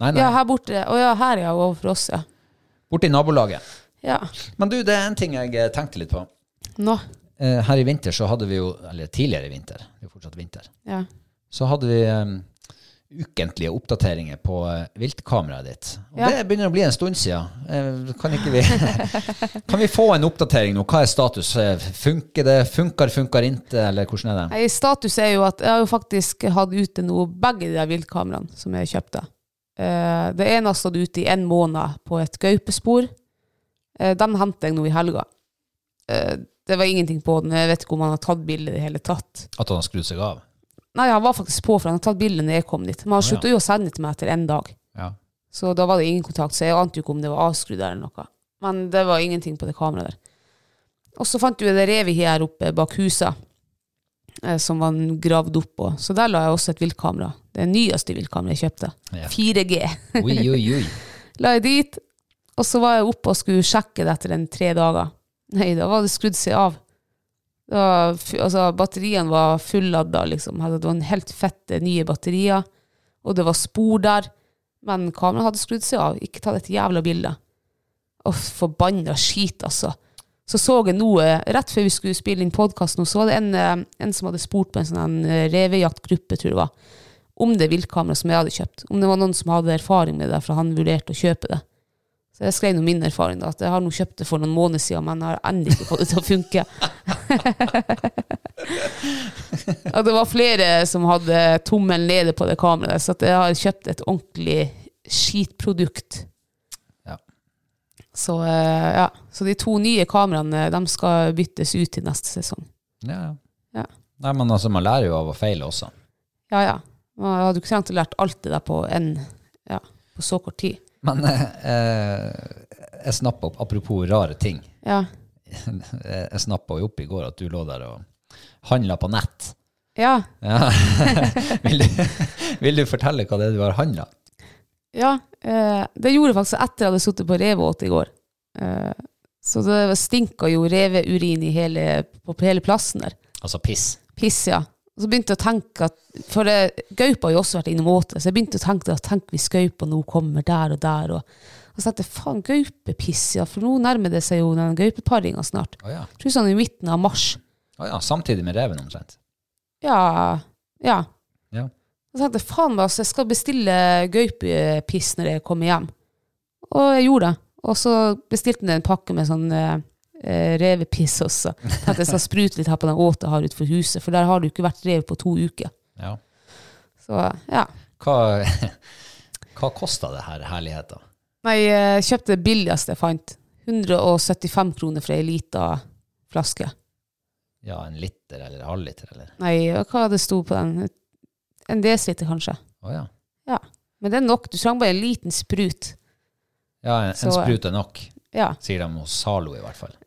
S2: Nei, nei.
S3: Ja, her borte. Å ja, her ja, overfor oss, ja.
S2: Borte i nabolaget.
S3: Ja.
S2: Men du, det er en ting jeg eh, tenkte litt på.
S3: Nå.
S2: Eh, her i vinter så hadde vi jo, eller tidligere i vinter, det er jo fortsatt vinter,
S3: Ja.
S2: så hadde vi em, ukentlige oppdateringer på eh, viltkameraet ditt. Og
S3: Ja.
S2: det begynner å bli en stund siden. Eh, kan, ikke vi, kan vi få en oppdatering nå? Hva er status? Eh, Funker det? Funker, funker ikke? Eller hvordan er det?
S3: Nei, status er jo at jeg har jo faktisk hatt ute nå begge de der viltkameraene som jeg kjøpte. Eh, det ene har stått ute i en måned på et gaupespor. Eh, den hentet jeg nå i helga. Eh, det var ingenting på den. Jeg vet ikke om han har tatt bilde i det hele tatt.
S2: At han har skrudd seg av?
S3: Nei, han var faktisk på, for han har tatt bilde når jeg kom dit. Men han
S2: ja.
S3: slutta jo å sende det til meg etter en dag.
S2: Ja.
S3: Så da var det ingen kontakt, så jeg ante jo ikke om det var avskrudd eller noe. Men det var ingenting på det kameraet der. Og så fant jeg det revet her oppe bak huset, eh, som var gravd opp. Og. Så der la jeg også et viltkamera. Det nyeste viltkameraet jeg kjøpte.
S2: Ja.
S3: 4G.
S2: Oi, oi, oi.
S3: la jeg dit, og så var jeg oppe og skulle sjekke det etter en tre dager. Nei, da var det skrudd seg av. Da, f- altså, batteriene var fulladda, liksom. Hadde- Det var en helt fette nye batterier, og det var spor der. Men kameraet hadde skrudd seg av. Ikke tatt et jævla bilde. Å, forbanna skit, altså. Så så jeg nå, eh, rett før vi skulle spille inn podkast nå, så var det en, eh, en som hadde spurt på en sånn eh, revejaktgruppe, tror jeg det var, om det viltkameraet som jeg hadde kjøpt. Om det var noen som hadde erfaring med det, for han vurderte å kjøpe det. Så jeg skrev nå min erfaring, da, at jeg har nå kjøpt det for noen måneder siden, men jeg har ennå ikke fått det til å funke. At det var flere som hadde tommelen nede på det kameraet, så at jeg har kjøpt et ordentlig skitprodukt.
S2: Ja.
S3: Så, eh, ja. så de to nye kameraene de skal byttes ut til neste sesong.
S2: Ja, ja.
S3: Ja.
S2: Nei, men altså, man lærer jo av å feile også.
S3: Ja, ja. Man hadde jo ikke trengt å lært alt det der på, en, ja, på så kort tid.
S2: Men eh, eh, jeg snappa opp, apropos rare ting,
S3: Ja,
S2: jeg snappa jo opp i går at du lå der og handla på nett.
S3: ja.
S2: Ja. vil, du, vil du fortelle hva det er du har handla?
S3: Ja, eh, det gjorde jeg faktisk etter jeg hadde sittet på revåt i går. Eh, så det stinka jo reveurin i hele, på hele plassen der.
S2: Altså piss.
S3: Piss, ja. Og så begynte jeg å tenke at For det, gaupa har jo også vært innom åte, så jeg begynte å tenke at tenk hvis gaupa nå kommer der og der. Og, og så tenkte jeg faen, gaupepiss, ja. For nå nærmer det seg jo den gaupeparinga snart.
S2: Å ja.
S3: Jeg tror sånn i midten av mars.
S2: Å ja. Samtidig med reven, omtrent.
S3: Ja. ja.
S2: Ja.
S3: Jeg tenkte faen meg, altså, jeg skal bestille gaupepiss når jeg kommer hjem. Og jeg gjorde det. Og så bestilte jeg en pakke med sånn eh, eh, revepiss også. Tenkte jeg skal sprute litt her på den åta jeg har utenfor huset, for der har det jo ikke vært rev på to uker.
S2: Ja.
S3: Så ja.
S2: Hva, hva kosta det her herligheten?
S3: Nei, jeg kjøpte det billigste jeg fant. 175 kroner for ei lita flaske.
S2: Ja, en liter eller halvliter, eller?
S3: Nei, hva det sto på den? En desiliter, kanskje.
S2: Å ja.
S3: Ja. Men det er nok. Du trenger bare en liten sprut.
S2: Ja, en, en
S3: Så-
S2: sprut er nok,
S3: Ja.
S2: sier de hos Zalo i hvert fall.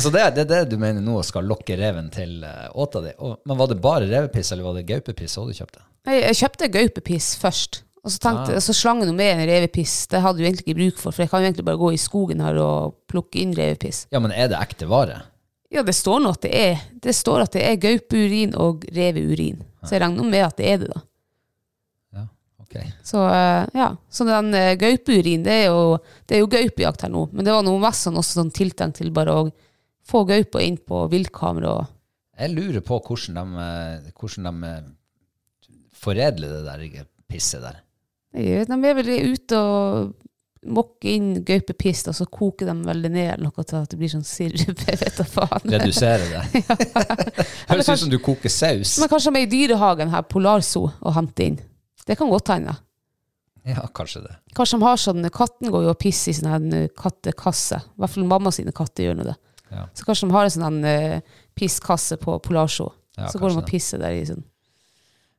S2: Så det, det er det du mener nå skal lokke reven til eh, åta di? Og, men var det bare revepiss, eller var det gaupepiss òg du kjøpte?
S3: Nei, jeg kjøpte gaupepiss først. Og så, tenkte,
S2: Ah.
S3: og så slang jeg noe med en revepiss. Det hadde jeg jo egentlig ikke bruk for, for jeg kan jo egentlig bare gå i skogen her og plukke inn revepiss.
S2: Ja, men er det ekte vare?
S3: Ja, det står nå at det er Det står at det er gaupeurin og reveurin. Så jeg regner med at det er det, da.
S2: Ja, ok.
S3: Så eh, ja, så den eh, gaupeurin, det er jo, det er jo gaupejakt her nå. Men det var noe mest sånn også sånn tiltenkt til bare å få gaupa inn på viltkamera og
S2: Jeg lurer på hvordan de, eh, hvordan de eh, foredler det der pisset der.
S3: Nei, De er vel ute og mokker inn gaupepiss, og så koker de vel det ned eller noe til at det blir sånn sirup. Jeg vet da faen.
S2: Redusere det. Høres ut som du koker saus.
S3: Men kanskje de er i dyrehagen her, Polarso, og henter inn. Det kan godt hende.
S2: Ja, kanskje det.
S3: Kanskje de har sånn Katten går jo og pisser i sånn her eh, kattekasse. I hvert fall mamma sine katter gjør nå det.
S2: Ja.
S3: Så kanskje de har en sånn eh, pisskasse på Polarso.
S2: Ja,
S3: så går
S2: kanskje
S3: de og
S2: det.
S3: pisser der i sånn.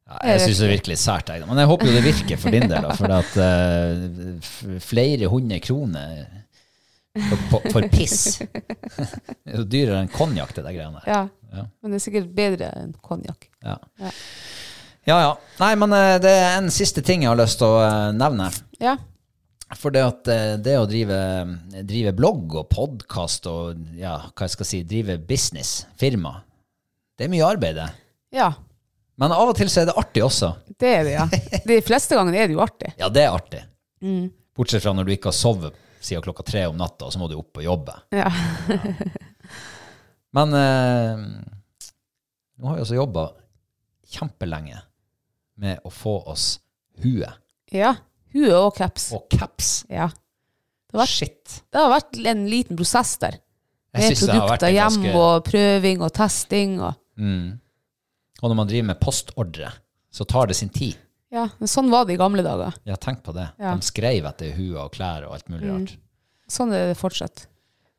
S2: Ja, jeg syns det er virkelig sært. Jeg. da. Men jeg håper jo det virker for din del, da, for at eh, f- flere hundre kroner for, for, for piss Det er jo dyrere enn konjakk, det der greiene der.
S3: Ja.
S2: Ja.
S3: Men det er sikkert bedre enn konjakk.
S2: Ja.
S3: Ja.
S2: ja ja. Nei, men eh, det er en siste ting jeg har lyst til å eh, nevne.
S3: Ja.
S2: For det at eh, det å drive, drive blogg og podkast og ja, hva jeg skal si, drive business, firma, det er mye arbeid, det.
S3: ja.
S2: Men av og til så er det artig også.
S3: Det er det, ja. De fleste gangene er det jo artig.
S2: Ja, det er artig.
S3: Mm.
S2: Bortsett fra når du ikke har sovet siden klokka tre om natta, og så må du opp og jobbe.
S3: Ja.
S2: Men eh, nå har vi også jobba kjempelenge med å få oss hue
S3: Ja. Hue og caps.
S2: og caps.
S3: Ja. Det har, vært,
S2: Shit.
S3: det har vært en liten prosess der.
S2: Jeg
S3: Med
S2: synes det har vært
S3: produkter
S2: en
S3: hjem
S2: ganske-
S3: og prøving og testing og
S2: Mm. Og når man driver med postordre, så tar det sin tid.
S3: Ja, men sånn var det i gamle dager.
S2: Ja, tenk på det.
S3: Ja.
S2: De skrev etter hue og klær og alt mulig rart.
S3: Sånn er det fortsatt.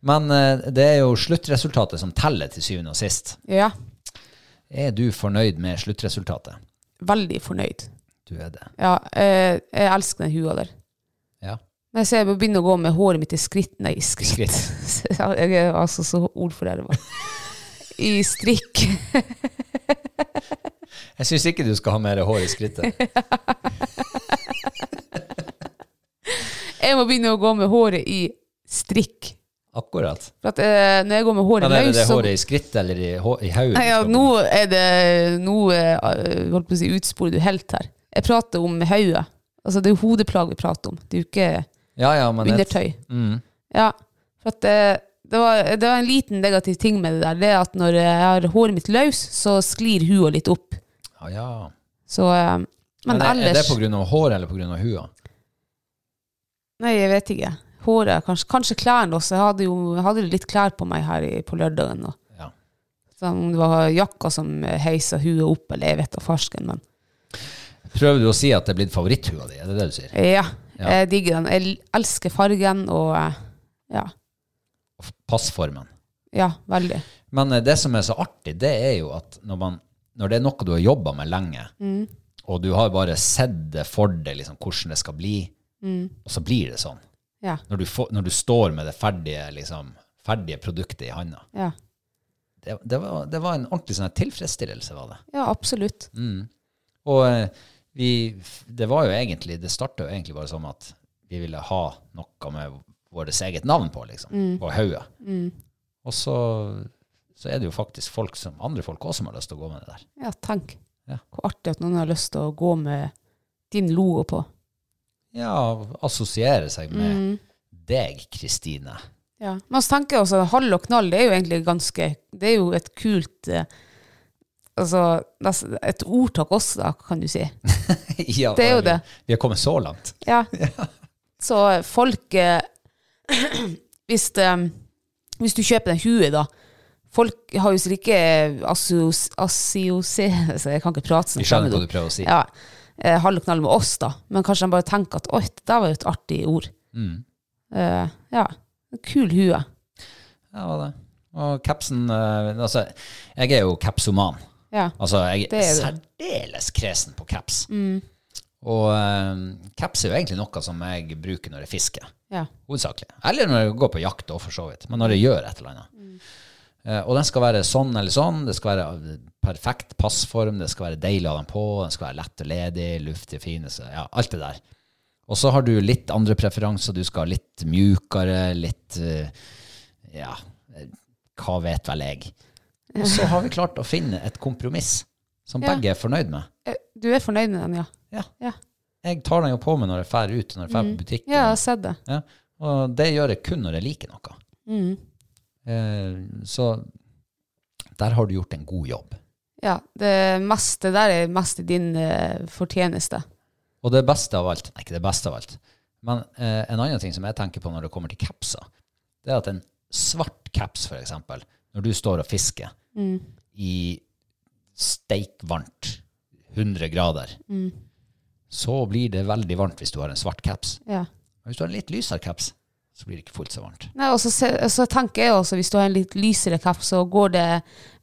S2: Men eh, det er jo sluttresultatet som teller til syvende og sist.
S3: Ja.
S2: Er du fornøyd med sluttresultatet?
S3: Veldig fornøyd.
S2: Du er det.
S3: Ja, eh, jeg elsker den hua der.
S2: Ja.
S3: Når jeg ser jeg begynner å gå med håret mitt i skritt Nei, i skritt. jeg er altså så ordforderva. I strikk.
S2: Jeg syns ikke du skal ha mer hår i skrittet.
S3: Jeg må begynne å gå med håret i strikk.
S2: Akkurat.
S3: For at eh, når jeg går med håret
S2: Men er det
S3: løs,
S2: det
S3: så
S2: håret i skrittet eller i, hå- i hodet?
S3: Nei, ja, nå er det Nå eh, holdt på å si utsporet du helt her. Jeg prater om hodet. Altså, det er jo hodeplagg vi prater om. Det er jo ikke
S2: ja, ja, men et-
S3: undertøy.
S2: Mm.
S3: Ja, for at eh, det var, det var en liten negativ ting med det der. Det er at når jeg har håret mitt løs, så sklir hua litt opp.
S2: Ja, ja.
S3: Så eh, Men,
S2: Men er, er det
S3: ellers
S2: pga. håret eller pga. hua?
S3: Nei, jeg vet ikke. Håret, kanskje, kanskje klærne også. Jeg hadde jo jeg hadde jo litt klær på meg her i, på lørdagen. Og.
S2: Ja.
S3: Så om det var jakka som heisa huet opp, eller jeg vet da farsken, men
S2: Prøver du å si at det er blitt favoritthua di? Er det det du sier?
S3: Ja,
S2: Ja.
S3: jeg digger den. Jeg elsker fargen, og eh, ja,
S2: Passformen.
S3: ja veldig.
S2: Men eh, det som er så artig, det er jo at når, man, når det er noe du har jobba med lenge,
S3: Mm.
S2: og du har bare sett det for deg liksom, hvordan det skal bli, og så blir det sånn.
S3: Mm. Ja,
S2: Når du, får, når du står med det ferdige, liksom, ferdige produktet i handa.
S3: ja.
S2: Det, det, var, det var en ordentlig sånn her tilfredsstillelse, var det. Mm.
S3: ja absolutt.
S2: Og eh, vi, det var jo egentlig, det starta jo egentlig bare som at vi ville ha
S3: Mm.
S2: noe med vårt eget navn på, liksom, på hodet. Og så så er det jo faktisk folk som, andre folk også som har lyst til å gå med det der.
S3: Ja, tenk.
S2: Ja.
S3: Hvor artig at noen har lyst til å gå med din logo på.
S2: Ja, assosiere seg med
S3: Mm.
S2: deg, Kristine.
S3: Ja. Men så tenker jeg også at hall og knall det er jo egentlig ganske Det er jo et kult eh, Altså nes- et ordtak også, da, kan du si.
S2: ja,
S3: Det er jo
S2: vi-
S3: det.
S2: Vi har kommet så langt.
S3: Ja. Så folk eh, hvis, eh, hvis du kjøper den hue, da Folk har jo sikkert ikke assos- assosierer seg Jeg kan ikke prate sånn.
S2: Vi skjønner
S3: fremmedord.
S2: hva du prøver å si.
S3: Ja. Eh, Hall og knall med oss, da. Men kanskje de bare tenker at oi, det der var jo et artig ord.
S2: Mm.
S3: Eh, ja. Kul hue.
S2: Ja, det var det. Og capsen eh, Altså, jeg er jo capsoman.
S3: Ja.
S2: Altså, jeg
S3: Det
S2: er
S3: er
S2: særdeles kresen på caps.
S3: Mm.
S2: Og eh, caps er jo egentlig noe som jeg bruker når jeg fisker,
S3: ja.
S2: hovedsakelig. Eller når jeg går på jakt, også, for så vidt. Men når jeg gjør et eller annet.
S3: Mm.
S2: Eh, og den skal være sånn eller sånn. Det skal være eh, perfekt passform, det skal være deilig å ha den på, den skal være lett og ledig, luftig, fin, så, ja, alt det der. Og så har du litt andre preferanser. Du skal ha litt mjukere, litt eh, Ja, eh, hva vet vel jeg. Og så har vi klart å finne et kompromiss som
S3: Ja.
S2: begge er fornøyd med.
S3: Eh, Du er fornøyd med den, ja?
S2: Ja.
S3: Ja,
S2: Jeg tar den jo på meg når jeg drar ut, når jeg drar på butikken.
S3: ja jeg har sett det.
S2: Ja. Og det gjør jeg kun når jeg liker noe.
S3: Mm.
S2: Eh, så der har du gjort en god jobb.
S3: Ja, det meste der er mest din eh, fortjeneste.
S2: Og det beste av alt, nei, ikke det beste av alt, men eh, en annen ting som jeg tenker på når det kommer til capser, det er at en svart caps, for eksempel, når du står og fisker i steikvarmt, 100 grader, så blir det veldig varmt hvis du har en svart caps.
S3: Ja.
S2: Men hvis du har en litt lysere caps, så blir det ikke fullt så varmt.
S3: Nei, og så, se- altså, så tenker jeg også, hvis du har en litt lysere kapp, så går det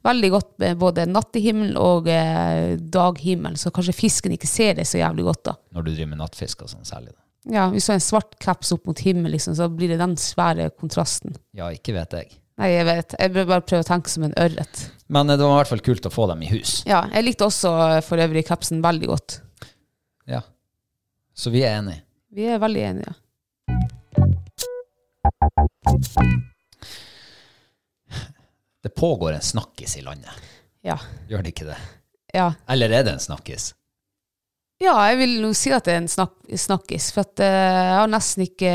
S3: veldig godt med både nattehimmel og eh, daghimmel, så kanskje fisken ikke ser det så jævlig godt da.
S2: Når du driver med nattfisk og sånn særlig. Da.
S3: Ja, hvis du har en svart kaps opp mot himmel, liksom, så blir det den svære kontrasten.
S2: Ja, ikke vet jeg.
S3: Nei, jeg vet. Jeg bør bare prøve å tenke som en ørret.
S2: Men eh, det var i hvert fall kult å få dem i hus.
S3: Ja, jeg likte også eh, for øvrig kapsen veldig godt.
S2: Ja. Så vi er enige.
S3: Vi er veldig enige.
S2: Det pågår en snakkis i landet.
S3: Ja.
S2: Gjør det ikke det?
S3: Ja,
S2: Eller er det en snakkis?
S3: ja jeg vil jo si at det er en snak snakkis, for at eh, jeg har nesten ikke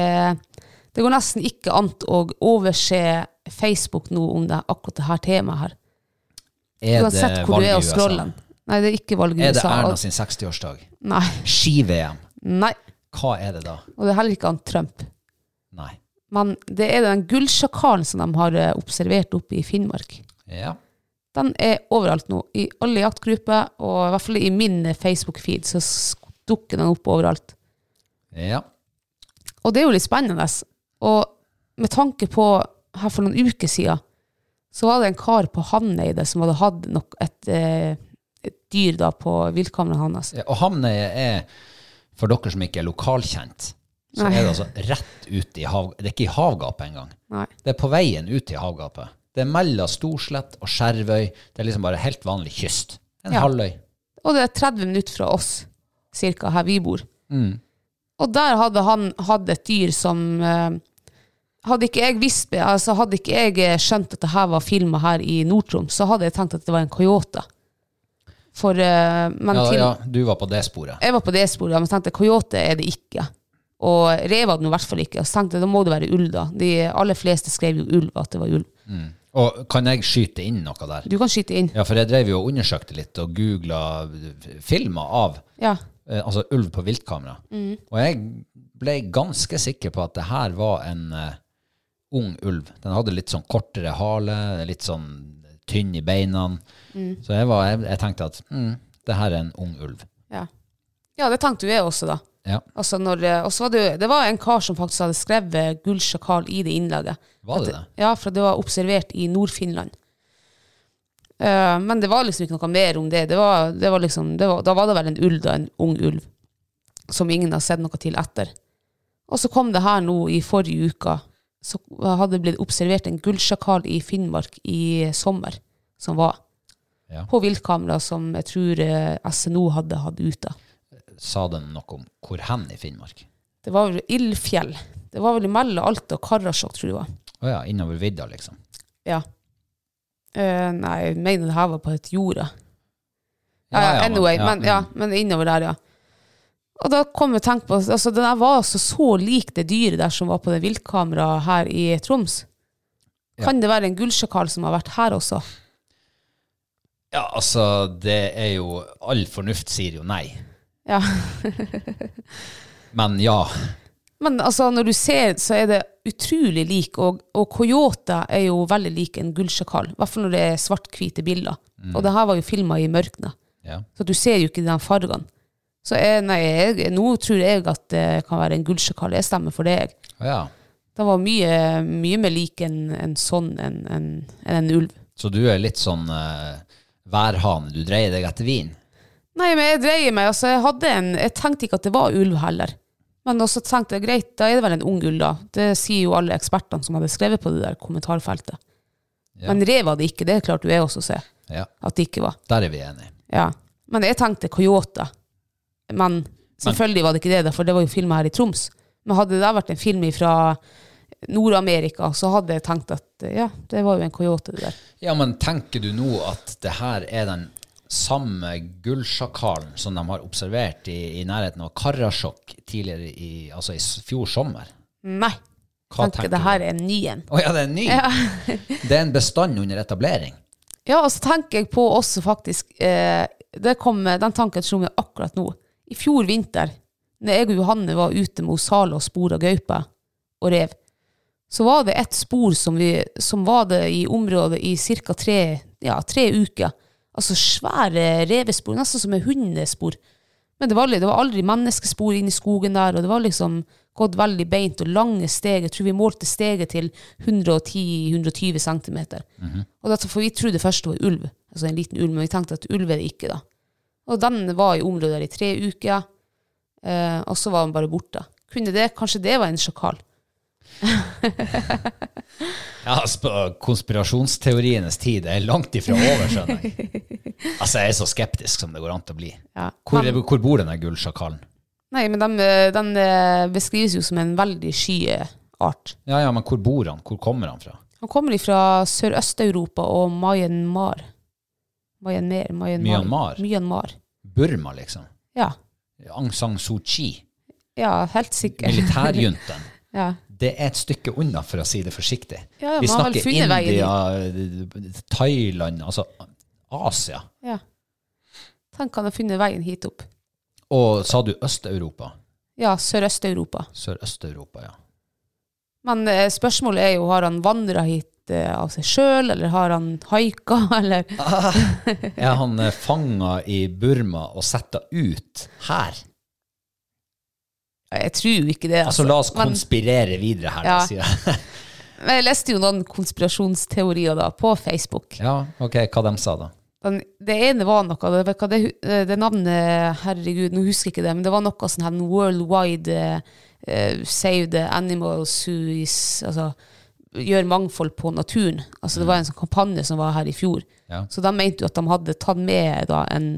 S3: Det går nesten ikke an å overse Facebook nå om det, akkurat det her temaet her.
S2: Er
S3: Uansett hvor du er og scroller. Nei, det er ikke valg i
S2: Er det
S3: USA.
S2: Erna sin 60-årsdag?
S3: Nei.
S2: Ski-VM.
S3: Nei.
S2: Hva er det da?
S3: Og det er heller ikke han Trump.
S2: Nei.
S3: Men det er den gullsjakalen som de har eh, observert oppe i Finnmark.
S2: Ja.
S3: Den er overalt nå. I alle jaktgrupper, og i hvert fall i min Facebook-feed, så sk- dukker den opp overalt.
S2: Ja.
S3: Og det er jo litt spennende. Og med tanke på her for noen uker siden, så var det en kar på Hamneide som hadde hatt nok et, eh, et dyr da på viltkameraet hans.
S2: Og Hamnøya er, for dere som ikke er lokalkjent, så
S3: Nei.
S2: er det altså rett ut i hav... Det er ikke i havgapet engang.
S3: Nei.
S2: Det er på veien ut til havgapet. Det er mellom Storslett og Skjervøy. Det er liksom bare helt vanlig kyst. En
S3: Ja.
S2: halvøy.
S3: Og det er 30 minutter fra oss, cirka her vi bor.
S2: Mm.
S3: Og der hadde han hatt et dyr som eh, Hadde ikke jeg visst det, altså hadde ikke jeg eh, skjønt at det her var filma her i Nord-Troms, så hadde jeg tenkt at det var en coyote. For eh, Men
S2: Ja,
S3: til,
S2: ja, du var på det sporet.
S3: jeg var på det sporet, men tenkte coyote er det ikke. Og rev hadde den i hvert fall ikke. Og så tenkte jeg da må det være ulv, da. De aller fleste skrev jo ulv, at det var ulv.
S2: Og kan jeg skyte inn noe der?
S3: Du kan skyte inn.
S2: Ja, for jeg drev jo og undersøkte litt og googla filmer av
S3: Ja.
S2: eh, altså ulv på viltkamera.
S3: Mm.
S2: Og jeg ble ganske sikker på at det her var en eh, ung ulv. Den hadde litt sånn kortere hale, litt sånn tynn i beina.
S3: Mm.
S2: Så jeg, var, jeg, jeg tenkte at mm, det her er en ung ulv.
S3: Ja, ja det tenkte jo jeg også, da.
S2: Ja.
S3: Altså når, eh, og så var det, jo- det var en kar som faktisk hadde skrevet gullsjakal i det innlegget.
S2: Var det
S3: At-
S2: det?
S3: Ja, for det var observert i Nord-Finland. Eh, men det var liksom ikke noe mer om det. det, var, det, var liksom, det var, da var det vel en ulv, da, en ung ulv, som ingen har sett noe til etter. Og så kom det her nå i forrige uke, så hadde det blitt observert en gullsjakal i Finnmark i sommer, som var
S2: Ja.
S3: på viltkamera som jeg tror eh, SNO hadde hatt ute.
S2: Sa den noe om hvor hen i Finnmark?
S3: Det var vel Ildfjell. Det var vel mellom Alta og Karasjok, tror jeg det var.
S2: Å ja, innover vidda, liksom.
S3: Ja. Eh, nei, jeg mener det her var på et jorda.
S2: Ja,
S3: Ja,
S2: ja, men-
S3: Eh, anyway,
S2: ja, mm.
S3: men, ja, mm. men innover der, ja. Og da kom jeg og tenkte på altså, Den her var altså så lik det dyret der som var på det viltkameraet her i Troms. Kan det være en gullsjakal som har vært her også?
S2: Ja, altså, det er jo All fornuft sier jo nei.
S3: Ja.
S2: Men ja.
S3: Men altså, når du ser, så er det utrolig lik, og, og coyoter er jo veldig lik en gullsjakal. I hvert fall når det er svart-hvite bilder. Og det her var jo filma i mørket.
S2: ja.
S3: Så du ser jo ikke de fargene. Så jeg, nei, jeg, nå tror jeg at det kan være en gullsjakal. Jeg stemmer for det, jeg.
S2: Å ja.
S3: Det var mye, mye mer lik en, en sånn enn en, enn en ulv.
S2: Så du er litt sånn eh, værhane. Du dreier deg etter vin.
S3: Nei, men jeg dreier meg. Altså, jeg, hadde en, jeg tenkte ikke at det var ulv heller. Men også tenkte jeg, greit, da er det vel en ung ulv, da. Det sier jo alle ekspertene som hadde skrevet på det der kommentarfeltet.
S2: Ja.
S3: Men rev var det ikke, det klarte jo jeg også å se
S2: Ja,
S3: at det ikke var.
S2: der er vi enige.
S3: Ja. Men jeg tenkte coyote. Men selvfølgelig var det ikke det, da, for det var jo film her i Troms. Men hadde det da vært en film fra Nord-Amerika, så hadde jeg tenkt at ja, det var jo en coyote det der.
S2: Ja, men tenker du nå at det her er den samme gullsjakalen som de har observert i, i nærheten av Karasjok tidligere i, altså i s- fjor sommer?
S3: Nei.
S2: Hva
S3: tenkte det her er en ny en.
S2: Å ja, det er en ny? det er en bestand under etablering?
S3: Ja, og så tenker jeg på også faktisk eh, det kom, Den tanken slo meg akkurat nå. I fjor vinter, når jeg og Johanne var ute med Osale og spora gaupe og rev, så var det et spor som, vi, som var det i området i ca. Tre, ja, tre uker. Altså svære revespor, nesten som et hundespor. Men det var, aldri- det var aldri menneskespor inne i skogen der, og det var liksom gått veldig beint og lange steg. Jeg tror vi målte steget til 110-120 cm. Og dette, for vi trodde først det var ulv, altså en liten ulv, men vi tenkte at ulv er det ikke da. Og den var i området der i tre uker, eh, og så var den bare borte. Kunne det, kanskje det var en sjakal?
S2: Ja, sp- konspirasjonsteorienes tid er langt ifra over, skjønner jeg. Altså, jeg er så skeptisk som det går an til å bli.
S3: Ja.
S2: Hvor,
S3: Men-
S2: hvor bor denne gullsjakalen?
S3: Nei, men den, eh, den eh, beskrives jo som en veldig sky eh, art.
S2: Ja, ja, men hvor bor han? Hvor kommer han fra?
S3: Han kommer fra Sørøst-Europa og Myanmar. Myanmar, Myanmar.
S2: Myanmar?
S3: Myanmar.
S2: Burma, liksom?
S3: Ja.
S2: Aung San Suu Kyi?
S3: ja, helt sikkert.
S2: Militærjunten?
S3: Ja.
S2: Det er et stykke unna, for å si det forsiktig.
S3: Ja, ja,
S2: Vi
S3: man har vel
S2: snakker
S3: funnet veien
S2: India, Thailand, altså Asia.
S3: ja. Tenk han har funnet veien hit opp.
S2: Og sa du Øst-Europa?
S3: Ja, Sørøst-Europa.
S2: Sørøst-Europa, ja.
S3: Men eh, spørsmålet er jo, har han vandra hit eh, av seg sjøl, eller har han haika, eller
S2: Er han eh, fanga i Burma og setta ut her?
S3: Jeg tror jo ikke det.
S2: Altså, la oss
S3: Men-
S2: konspirere videre her, da,
S3: Ja.
S2: sier jeg.
S3: Men jeg leste jo noen konspirasjonsteorier da, på Facebook.
S2: Ja, ok, hva de sa da?
S3: Den, det ene var noe det, hva det, hu- det navnet Herregud, nå husker jeg ikke det, men det var noe sånn her worldwide eh, eh, Save the animals who is Altså gjør mangfold på naturen. Altså Det var en sånn kampanje som var her i fjor.
S2: Ja.
S3: Så de mente jo at de hadde tatt med da en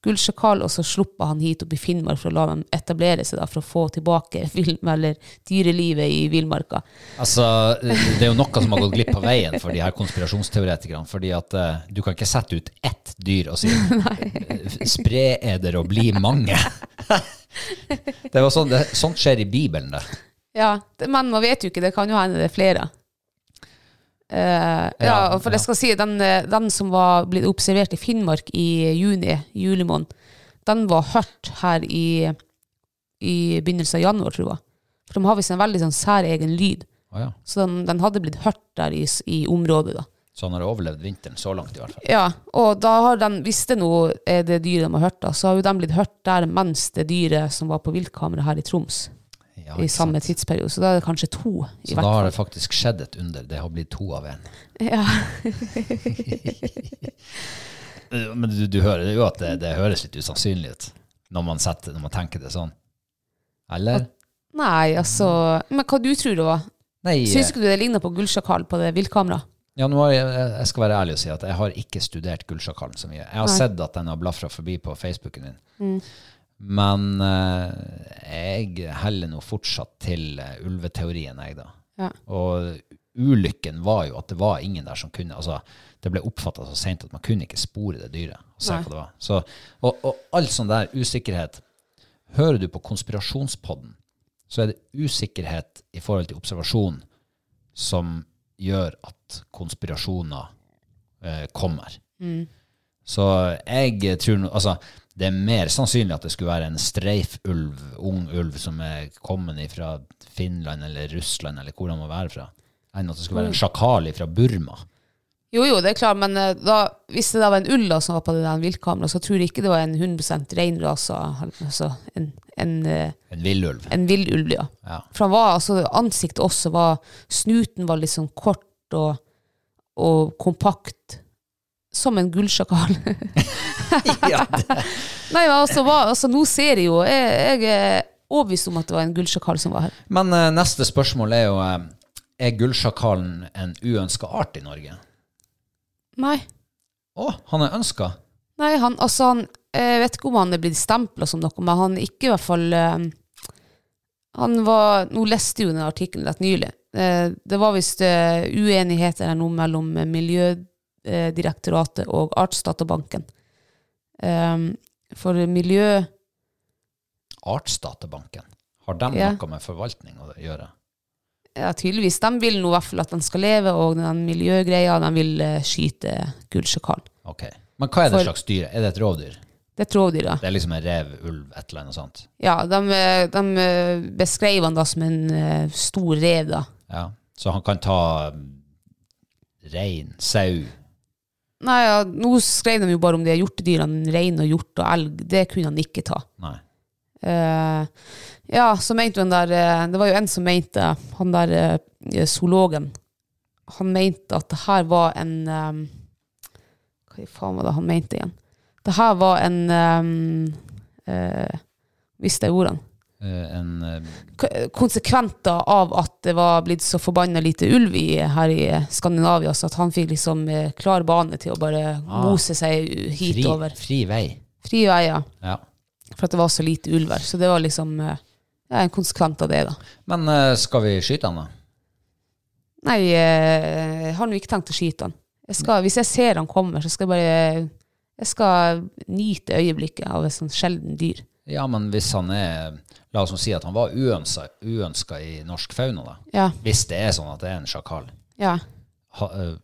S3: gullsjakal, og så sluppet han hit opp i Finnmark for å la dem etablere seg da, for å få tilbake vilm, eller dyrelivet i villmarka.
S2: Altså, det er jo noe som har gått glipp av veien for de her konspirasjonsteoretikerne. fordi at eh, du kan ikke sette ut ett dyr og si spre eder og bli mange. det var sånn, det, sånt skjer i Bibelen, det.
S3: Ja, det, men man vet jo ikke, det kan jo hende det er flere. Eh, ja,
S2: Ja,
S3: og for
S2: ja.
S3: jeg skal si, den, eh, den som var blitt observert i Finnmark i juni, julemåned, den var hørt her i, i begynnelsen av januar, tror jeg. For de har visst en veldig sånn særegen lyd.
S2: Å ja.
S3: Så den, den hadde blitt hørt der i, s- i området da.
S2: Så han har overlevd vinteren så langt, i hvert fall.
S3: Ja, og da har den, hvis det nå er det dyret de har hørt da, så har jo den blitt hørt der mens det dyret som var på viltkamera her i Troms,
S2: Ja,
S3: i
S2: ikke sant?
S3: samme tidsperiode. Så da er det kanskje to i
S2: Så da
S3: hvert
S2: har
S3: fall.
S2: det faktisk skjedd et under. Det har blitt to av én.
S3: Ja.
S2: Men du, du hører jo at det, det høres litt usannsynlig ut når man, setter, når man tenker det sånn. Eller?
S3: Nei, altså Men hva du tror det var?
S2: Nei. eh,
S3: Syns ikke du det ligna på gullsjakal på det viltkameraet?
S2: Ja, nå har jeg, jeg skal være ærlig og si at jeg har ikke studert gullsjakalen så mye. Jeg har sett at den har blafra forbi på Facebooken min.
S3: Mm.
S2: Men eh, jeg heller nå fortsatt til eh, ulveteorien, jeg, da.
S3: Ja.
S2: Og ulykken var jo at det var ingen der som kunne altså Det ble oppfatta så seint at man kunne ikke spore det dyret og se
S3: Nei.
S2: hva det var. Så, og, og all sånn der usikkerhet Hører du på konspirasjonspodden, så er det usikkerhet i forhold til observasjon som gjør at konspirasjoner eh, kommer.
S3: Mm.
S2: Så jeg tror no, altså, det er mer sannsynlig at det skulle være en streifulv, ung ulv, som er kommet fra Finland eller Russland eller hvor han må være fra, enn at det skulle være en
S3: Mm.
S2: sjakal fra Burma.
S3: Jo, jo, det er klart, men eh, da, hvis det da var en ulla som var på det der viltkameraet, så tror jeg ikke det var en 100 reinrase, altså en, en, eh,
S2: En villulv.
S3: en villulv, ja.
S2: Ja.
S3: For han var, altså, ansiktet også var Snuten var litt sånn kort og, og kompakt. Som en gullsjakal.
S2: ja, det,
S3: Nei, men altså, hva, altså, nå ser jeg jo Jeg, jeg er overbevist om at det var en gullsjakal som var her.
S2: Men eh, neste spørsmål er jo eh, Er gullsjakalen en uønska art i Norge?
S3: Nei.
S2: Å, han er ønska!
S3: Nei, han, altså han Jeg vet ikke om han er blitt stempla som noe, men han ikke i hvert fall eh, Han var Nå leste jeg jo den artikkelen rett nylig. Eh, Det var visst eh, uenighet eller noe mellom Miljødirektoratet og Artsdatabanken. Eh, For miljø
S2: Artsdatabanken. Har de
S3: Ja.
S2: noe med forvaltning å gjøre?
S3: ja, tydeligvis, de vil nå i hvert fall at den skal leve, og den miljøgreia, de vil eh, skyte gullsjakalen.
S2: Ok. Men hva er det
S3: For-
S2: slags dyr? Er det et rovdyr?
S3: Det tror de, da.
S2: Det er liksom en rev, ulv, et eller annet sånt?
S3: Ja, de, eh, de eh, beskrev han da som en eh, stor rev, da.
S2: Ja. Så han kan ta um, rein, sau
S3: Nei, ja, nå skrev de jo bare om de hjortedyrene, rein og hjort og elg. Det kunne han ikke ta.
S2: Nei.
S3: Eh, ja, så mente jo han der eh, Det var jo en som mente, han der eh, zoologen, han mente at det her var en eh, Hva i faen var det han mente igjen? Det her var en eh, eh, Visste jeg ordene?
S2: Eh, En eh,
S3: k- konsekventer av at det var blitt så forbanna lite ulv i, her i Skandinavia, så at han fikk liksom eh, klar bane til å bare
S2: Ah.
S3: mose seg
S2: fri,
S3: hitover.
S2: fri vei.
S3: Fri veier,
S2: Ja.
S3: for at det var så lite ulv her. Så det var liksom eh, ja, en konsekvent av det, da.
S2: Men eh, skal vi skyte han, da?
S3: Nei, eh, jeg har nå ikke tenkt å skyte han. Jeg skal, hvis jeg ser han kommer, så skal jeg bare jeg skal nyte øyeblikket av et sånt sjelden dyr.
S2: Ja, men hvis han er La oss nå si at han var uønska i norsk fauna, da.
S3: Ja.
S2: Hvis det er sånn at det er en sjakal.
S3: Ja,
S2: Ha, eh,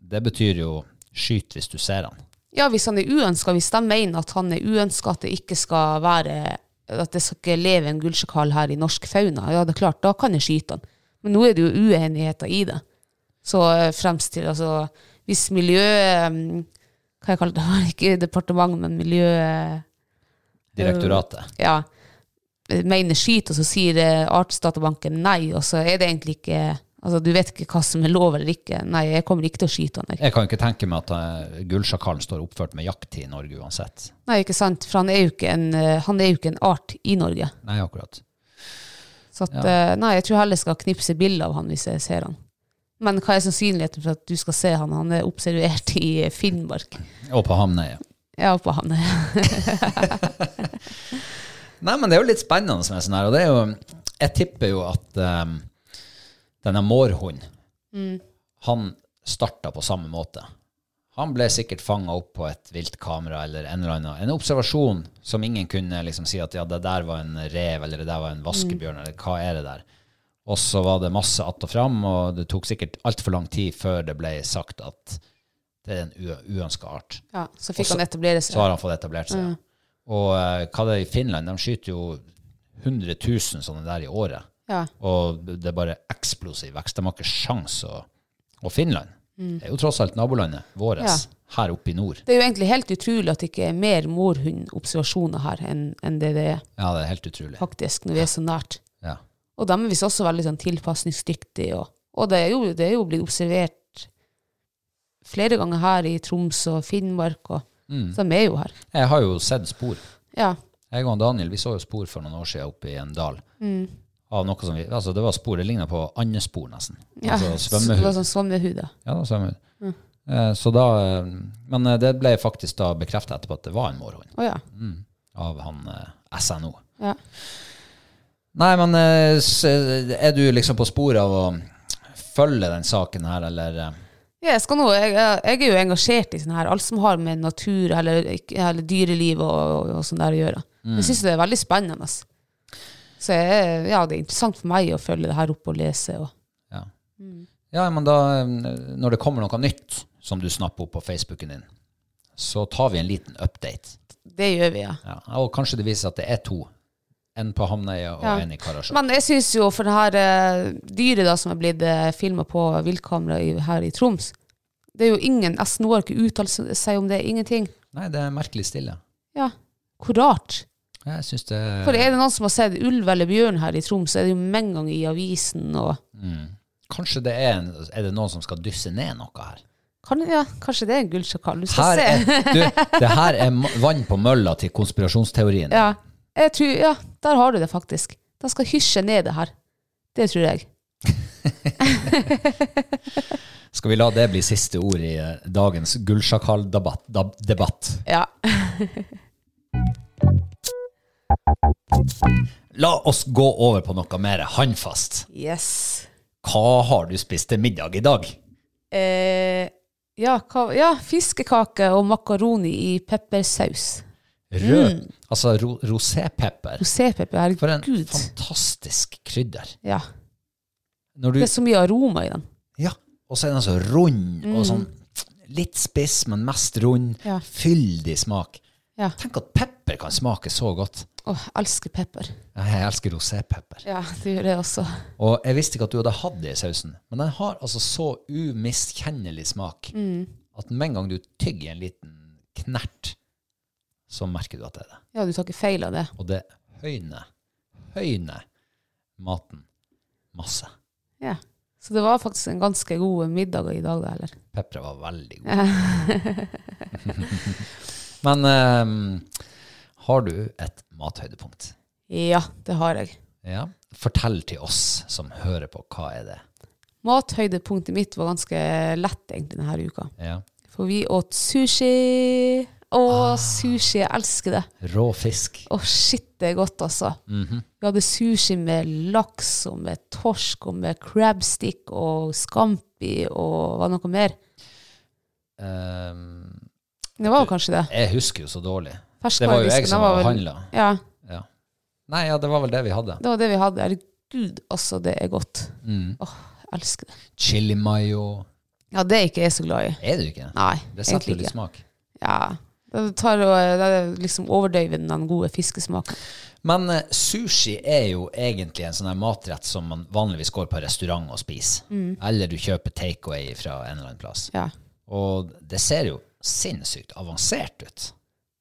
S2: det betyr jo skyt hvis du ser han.
S3: ja hvis han er uønska, hvis de mener at han er uønska, at det ikke skal være at det skal ikke leve en gullsjakal her i norsk fauna, ja, det er klart, da kan jeg skyte han. Men nå er det jo uenigheter i det. Så eh, fremst til, altså, hvis miljø... eh, Hva jeg kaller det? Ikke departement, men miljø... eh,
S2: Direktoratet.
S3: ja, mener skyt, og så sier eh, Artsdatabanken nei, og så er det egentlig ikke Altså, du vet ikke hva som er lov eller ikke. Nei, jeg kommer ikke til å skyte han. der.
S2: Jeg kan jo ikke tenke meg at eh, gullsjakalen står oppført med jakttid i Norge uansett.
S3: Nei, ikke sant? For han er jo ikke en, eh, han er jo ikke en art i Norge.
S2: Nei, akkurat.
S3: Så at, eh, nei, jeg tror heller jeg skal knipse bilde av han hvis jeg ser han. Men hva er sannsynligheten for at du skal se han? Han er observert i eh, Finnmark.
S2: Og på Hamnøya.
S3: Ja, på han.
S2: Nei, men det er jo litt spennende med sånn her, og det er jo, jeg tipper jo at um, denne mårhunden, han startet på samme måte. Han ble sikkert fanget opp på et vilt kamera eller en eller annen, en observasjon som ingen kunne liksom si at ja, det der var en rev, eller det der var en vaskebjørn, eller hva er det der? Og så var det masse att og fram, og det tok sikkert alt for lang tid før det ble sagt at det er en u- uønsket art.
S3: Ja, så fikk
S2: Og så-
S3: han etablere seg.
S2: Så har han fått etablert seg. Og eh, hva det er i Finland, de skyter jo 100 000 sånne der i året.
S3: Ja.
S2: Og det er bare eksplosiv vekst. De har ikke sjans å Og Finland
S3: Mm.
S2: er jo tross alt nabolandet vårt her oppe i nord.
S3: Det er jo egentlig helt utrolig at det ikke er mer morhundobservasjoner her enn enn det det er,
S2: Ja, det er helt utrolig.
S3: faktisk, når vi er så nært.
S2: Ja.
S3: Og de er visst også veldig sånn tilpasningsdyktige. Og, og det, er jo, det er jo blitt observert flere ganger her i Troms og Finnmark, og,
S2: Mm.
S3: så de er jo her.
S2: Jeg har jo sett spor.
S3: Ja,
S2: Jeg og Daniel vi så jo spor for noen år siden oppe i en dal.
S3: Mm.
S2: Av noe som vi, altså Det var spor, det ligna på andespor, nesten.
S3: ja.
S2: Altså
S3: Så Mm. det
S2: svømmehud.
S3: var sånn svømmehud. ja.
S2: Ja, da svømmer hun. Eh, Så da, eh, men eh, det ble faktisk da bekreftet etterpå at det var en mårhund
S3: Å ja.
S2: Mm. av han eh, SNO.
S3: ja.
S2: eh, Nei, men eh, s- er du liksom på sporet av å følge den saken her, eller eh,
S3: Ja, jeg, skal nå, jeg, jeg er jo engasjert i sånn her, alt som har med natur eller, eller dyreliv og, og, og sånn der å gjøre. Jeg syns det er veldig spennende. ass. Så jeg, ja, det er interessant for meg å følge det her opp og lese. Og.
S2: Ja. ja, men da eh, Når det kommer noe nytt som du snapper opp på Facebooken din, så tar vi en liten update.
S3: Det gjør vi, ja.
S2: Ja, og kanskje det viser seg at det er to. En på Hamnøya og en i Karasjok.
S3: Men jeg syns jo for det her eh, dyret da, som er blitt eh, filma på viltkamera i, her i Troms Det er jo ingen SNO har ikke uttalt seg om det. Ingenting.
S2: Nei, det er merkelig stille.
S3: Ja, hvor rart.
S2: Jeg syns det
S3: For er det noen som har sett ulv eller bjørn her i Troms, så er det jo mange ganger i avisen og
S2: Mm. Kanskje det er, en, er det noen som skal dysse ned noe her?
S3: kan, ja, Kanskje det er en gullsjakal. Du
S2: her
S3: skal se.
S2: er, du, det her er ma- vann på mølla til konspirasjonsteorien.
S3: Ja, jeg tror, ja, der har du det faktisk. De skal hysje ned det her. Det tror jeg.
S2: Skal vi la det bli siste ord i eh, dagens gullsjakal-debatt?
S3: Ja.
S2: La oss gå over på noe mer håndfast.
S3: Yes.
S2: Hva har du spist til middag i dag?
S3: Eh, ja, hva, ja, fiskekake og makaroni i peppersaus.
S2: Rød,
S3: Mm.
S2: altså ro, rosépepper.
S3: Rosépepper,
S2: For en
S3: herregud.
S2: fantastisk krydder.
S3: Ja.
S2: Når du,
S3: Det er så mye aroma i den.
S2: ja, og så er den så rund, og sånn litt spiss, men mest rund.
S3: Mm. Ja.
S2: Fyldig smak.
S3: Ja.
S2: Tenk at pepper kan smake så godt.
S3: Åh, jeg elsker pepper.
S2: Jeg elsker rosépepper.
S3: Ja, det gjør jeg også.
S2: Og jeg visste ikke at du hadde hatt det i sausen, men den har altså så umiskjennelig smak
S3: Mm.
S2: at med en gang du tygger en liten knert, så merker du at det er det.
S3: Ja, du tar ikke feil av det.
S2: Og det høyner, høyner maten masse.
S3: Ja. Så det var faktisk en ganske god middag i dag, da, eller?
S2: Pepperet var veldig god. men eh, har du et mathøydepunkt?
S3: Ja, det har jeg.
S2: Ja. Fortell til oss som hører på, hva er det?
S3: Mathøydepunktet mitt var ganske lett egentlig denne uka.
S2: Ja.
S3: For vi åt sushi. Å,
S2: Ah.
S3: sushi. Jeg elsker det.
S2: Rå fisk.
S3: Å, shit, det er godt, altså. Vi hadde sushi med laks og med torsk og med crabstick og scampi og hva noe mer.
S2: Eh,
S3: Det var jo kanskje det.
S2: Jeg husker jo så dårlig. Det var jo
S3: Ferskvaredisken,
S2: jeg som
S3: den var
S2: var
S3: vel-
S2: handla.
S3: Ja,
S2: Ja. Nei, ja, det var vel det vi hadde. Mm.
S3: det var det vi hadde. Herregud, altså, det er godt. Åh, jeg elsker det.
S2: Chili mayo.
S3: Ja, det er ikke jeg så glad i.
S2: Er du ikke?
S3: Nei,
S2: det setter jo
S3: egentlig
S2: litt
S3: ikke.
S2: smak.
S3: Ja. Det tar og det er liksom overdøyver den gode fiskesmaken.
S2: Men eh, sushi er jo egentlig en sånn her matrett som man vanligvis går på restaurant og spiser. Eller du kjøper takeaway fra en eller annen plass.
S3: Mm. Ja.
S2: Og det ser jo sinnssykt avansert ut.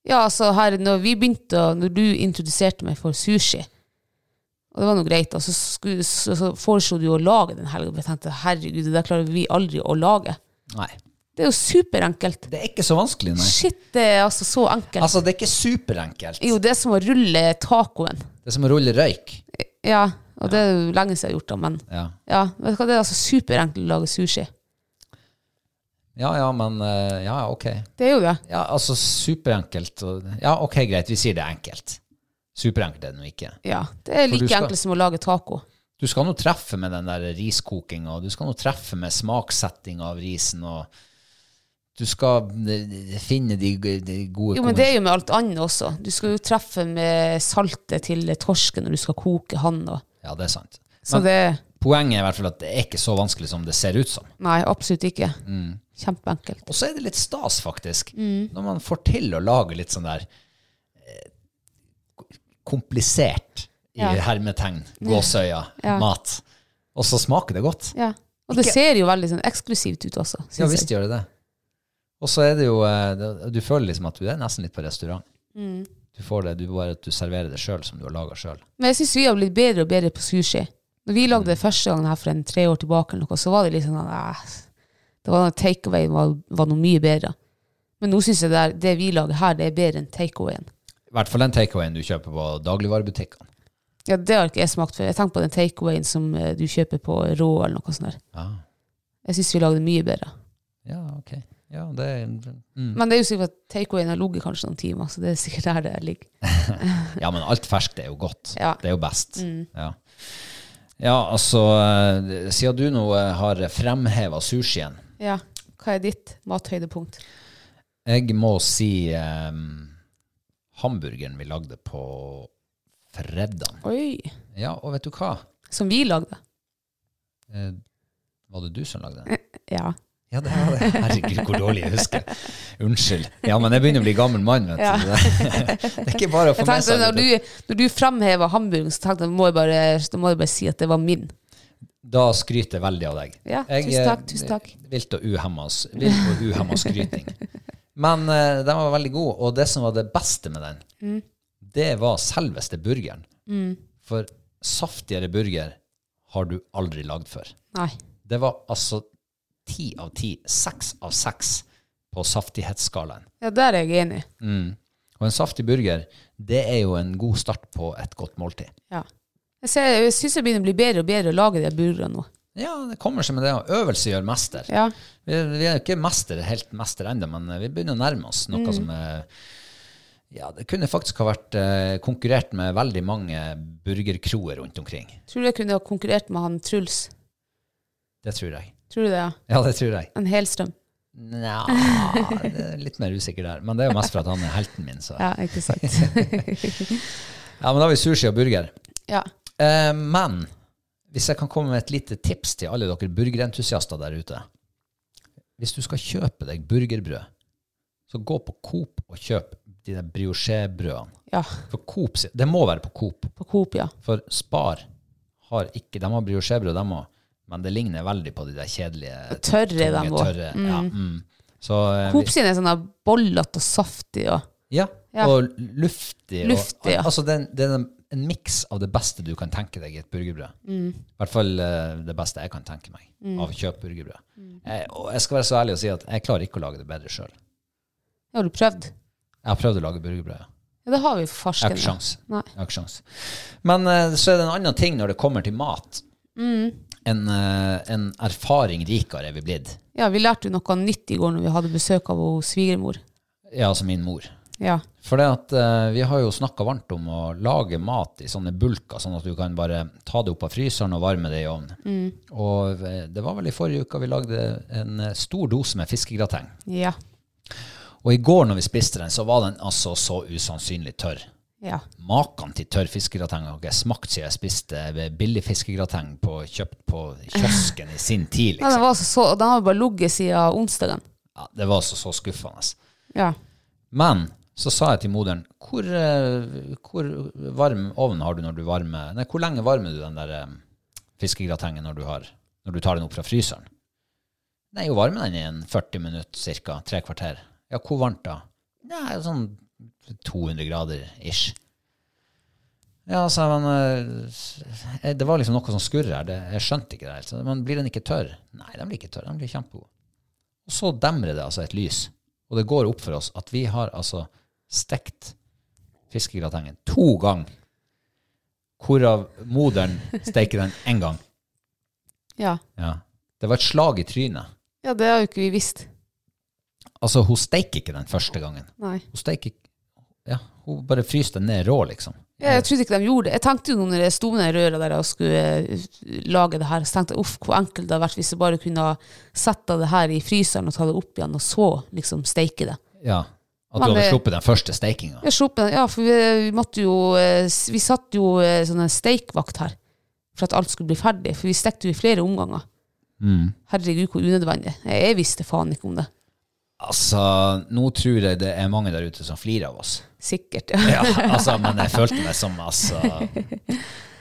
S3: Ja, altså her, når vi begynte, å- når du introduserte meg for sushi, og det var noe greit, da, så, skulle, så, så foreslo du å lage den helga, og jeg tenkte herregud, det der klarer vi aldri å lage.
S2: Nei.
S3: Det er jo superenkelt.
S2: Det er ikke så vanskelig, nei.
S3: Shit, det er altså så enkelt.
S2: Altså, det er ikke superenkelt.
S3: det er jo det som å rulle tacoen.
S2: Det er som å rulle røyk.
S3: Ja, og det er jo lenge siden jeg har gjort det, men
S2: Ja.
S3: ja, vet du hva, det er altså superenkelt å lage sushi.
S2: ja, ja, men eh, Ja, ok.
S3: Det er jo det.
S2: Ja, altså superenkelt. og- Ja, ok, greit, vi sier det er enkelt. Superenkelt er det nå ikke.
S3: Ja, det er
S2: For du
S3: like
S2: skal-
S3: enkelt som å lage taco.
S2: Du skal nå treffe med den der riskokinga, og du skal nå treffe med smaksetting av risen, og du skal eh, finne de, de gode
S3: Jo, men det er jo med alt annet også. Du skal jo treffe med saltet til torsken når du skal koke han. Og.
S2: Ja, det er sant.
S3: Så det
S2: Poenget er i hvert fall at det er ikke så vanskelig som det ser ut som.
S3: Nei, absolutt ikke.
S2: Mm.
S3: Kjempeenkelt.
S2: Og så er det litt stas, faktisk,
S3: Mm.
S2: når man får til å lage litt sånn der eh, komplisert, i
S3: Ja.
S2: hermetegn, gåsøya,
S3: Ja.
S2: mat. Og så smaker det godt.
S3: Ja. Og det
S2: Ikke-
S3: ser jo veldig sånn eksklusivt ut også,
S2: Ja
S3: syns
S2: visst
S3: jeg.
S2: gjør det det. Og så er det jo eh, det- Du føler liksom at du er nesten litt på restaurant.
S3: Mm.
S2: Du får det, du bare at du serverer det sjøl som du har laga sjøl.
S3: Men jeg syns vi har blitt bedre og bedre på sushi. Når vi
S2: Mm.
S3: lagde det første gangen her for en tre år tilbake, eller noe, så var det litt sånn eh, Det var Takeaway var, var noe mye bedre. Men nå syns jeg det, er, det vi lager her, det er bedre enn takeawayen.
S2: I hvert fall den takeawayen du kjøper på dagligvarebutikkene.
S3: Ja, det har ikke jeg smakt før. Jeg tenker på den takeawayen som eh, du kjøper på Rå eller noe sånt. der.
S2: Ja.
S3: Jeg syns vi lagde det mye bedre.
S2: Mm. ja, ok. Ja, det er, mm.
S3: Men det er jo sikkert at takeawayen har ligget kanskje noen timer, så det er sikkert der det ligger.
S2: ja, men alt ferskt er jo godt.
S3: Ja. Mm.
S2: Det er jo best. Ja. Ja, altså, eh, siden du nå eh, har fremheva sushien,
S3: Ja. Hva er ditt mathøydepunkt?
S2: jeg må si eh, hamburgeren vi lagde på fredag.
S3: Oi.
S2: Ja, og vet du hva?
S3: Som vi lagde.
S2: Eh, var det du som lagde den?
S3: Ja.
S2: Ja, det var det. Herregud, hvor dårlig jeg husker. Unnskyld. Ja, men jeg begynner å bli gammel mann, vet du.
S3: Ja.
S2: Det er ikke bare å få
S3: Jeg
S2: med
S3: tenkte,
S2: seg.
S3: når
S2: det.
S3: du, når du framheva hamburgeren, så tenkte jeg må jeg bare, da må jeg bare si at det var min.
S2: Da skryter jeg veldig av deg.
S3: Ja,
S2: Jeg,
S3: tusen takk.
S2: eh,
S3: tusen takk.
S2: Vilt og uhemma s- vilt og uhemma skryting. Men eh, den var veldig god, og det som var det beste med den,
S3: Mm.
S2: det var selveste burgeren. For saftigere burger har du aldri lagd før.
S3: Nei.
S2: Det var altså ti av ti, seks av seks på saftighetsskalaen.
S3: Ja, der er jeg enig.
S2: Mm. Og en saftig burger, det er jo en god start på et godt måltid.
S3: Ja. Jeg, ser, jeg syns jeg begynner å bli bedre og bedre å lage de burgerne nå.
S2: Ja, det kommer seg med det. og Øvelse gjør mester.
S3: Ja.
S2: Vi, vi er jo ikke mester, helt mester ennå, men eh, vi begynner å nærme oss noe som er ja, Det kunne faktisk ha vært eh, konkurrert med veldig mange burgerkroer rundt omkring.
S3: Tror du jeg kunne ha konkurrert med han Truls?
S2: Det tror jeg.
S3: Tror du det? ja?
S2: Ja, det tror jeg.
S3: En Helstrøm?
S2: Nja det er Litt mer usikker der. Men det er jo mest for at han er helten min, så. Ja,
S3: Ja, ikke sant.
S2: men da har vi sushi og burger.
S3: ja.
S2: Eh, men hvis jeg kan komme med et lite tips til alle dere burgerentusiaster der ute. Hvis du skal kjøpe deg burgerbrød, så gå på Coop og kjøp de der brioche-brødene.
S3: ja.
S2: For Coop, si- Det må være på Coop,
S3: På Coop, ja.
S2: for Spar har ikke De har brioche-brød, de òg, men det ligner veldig på de der kjedelige
S3: Tørre dem
S2: tunge,
S3: òg.
S2: tørre. Ja, mm. Så, eh, vi-
S3: Coop sine er sånn der bollete og saftige. og-
S2: ja,
S3: Ja.
S2: og luftig.
S3: Luftig,
S2: og,
S3: ja.
S2: Altså, det er en- det er en, en miks av det beste du kan tenke deg i et burgerbrød.
S3: Mm.
S2: I hvert fall eh, det beste jeg kan tenke meg av å kjøpe burgerbrød.
S3: Mm.
S2: Jeg, og jeg skal være så ærlig og si at jeg klarer ikke å lage det bedre sjøl.
S3: Det har du prøvd?
S2: Jeg har prøvd å lage burgerbrød. ja.
S3: Ja, det har vi
S2: Jeg har ikke
S3: farsken.
S2: sjans.
S3: Nei.
S2: Jeg har ikke sjans. Men eh, så er det en annen ting når det kommer til mat.
S3: Mm.
S2: En, eh, en erfaring rikere er vi blitt.
S3: Ja, vi lærte jo noe nytt i går når vi hadde besøk av hos svigermor.
S2: Ja, altså min mor.
S3: Ja.
S2: For det at eh, vi har jo snakka varmt om å lage mat i sånne bulker, sånn at du kan bare ta det opp av fryseren og varme det i ovnen.
S3: Mm.
S2: Og eh, det var vel i forrige uke vi lagde en eh, stor dose med fiskegrateng.
S3: Ja.
S2: Og i går når vi spiste den, så var den altså så usannsynlig tørr.
S3: Ja.
S2: Maken til tørr fiskegrateng har ikke jeg smakt siden jeg spiste eh, billig fiskegrateng på, kjøpt på kiosken i sin tid.
S3: ja den,
S2: Liksom.
S3: var så, så, den har jo bare ligget siden onsdagen.
S2: Ja, det var altså så skuffende.
S3: Ja.
S2: Men så sa jeg til moderen hvor, eh, hvor varm ovn har du når du varmer Nei, hvor lenge varmer du den der eh, fiskegratengen når du, har, når du tar den opp fra fryseren? Nei, hun varmer den i en 40 minutter, ca. Tre kvarter. Ja, hvor varmt da? Nei, sånn 200 grader ish. Ja, sa jeg, men eh, Det var liksom noe som skurrer her. det- Jeg skjønte ikke det helt. Så, Men blir den ikke tørr? Nei, den blir ikke tørr. Den blir kjempegod. Og så demrer det altså et lys, og det går opp for oss at vi har altså stekt fiskegratengen to ganger, hvorav moderen steker den én gang.
S3: Ja.
S2: Ja. Det var et slag i trynet.
S3: ja, det har jo ikke vi visst.
S2: Altså, hun steiker ikke den første gangen.
S3: Nei.
S2: Hun steiker ikke- Ja, hun bare fryser den ned rå, liksom.
S3: Ja, jeg trodde ikke de gjorde det. Jeg tenkte jo når jeg sto med den røra der og skulle eh, lage det her, så tenkte jeg uff, hvor enkelt det hadde vært hvis jeg bare kunne ha sette det her i fryseren og ta det opp igjen, og så liksom steike det.
S2: Ja. At
S3: Men
S2: du hadde
S3: det-
S2: sluppet den første steikinga.
S3: Jeg slapp den, ja, for vi, vi måtte jo eh, s- Vi satt jo eh, sånn en steikvakt her for at alt skulle bli ferdig, for vi stekte jo i flere omganger.
S2: Mm.
S3: Herregud, hvor unødvendig. Jeg, jeg visste faen ikke om det.
S2: Altså, nå tror jeg det er mange der ute som flirer av oss.
S3: Sikkert. Ja.
S2: Ja, altså, men jeg følte meg som altså,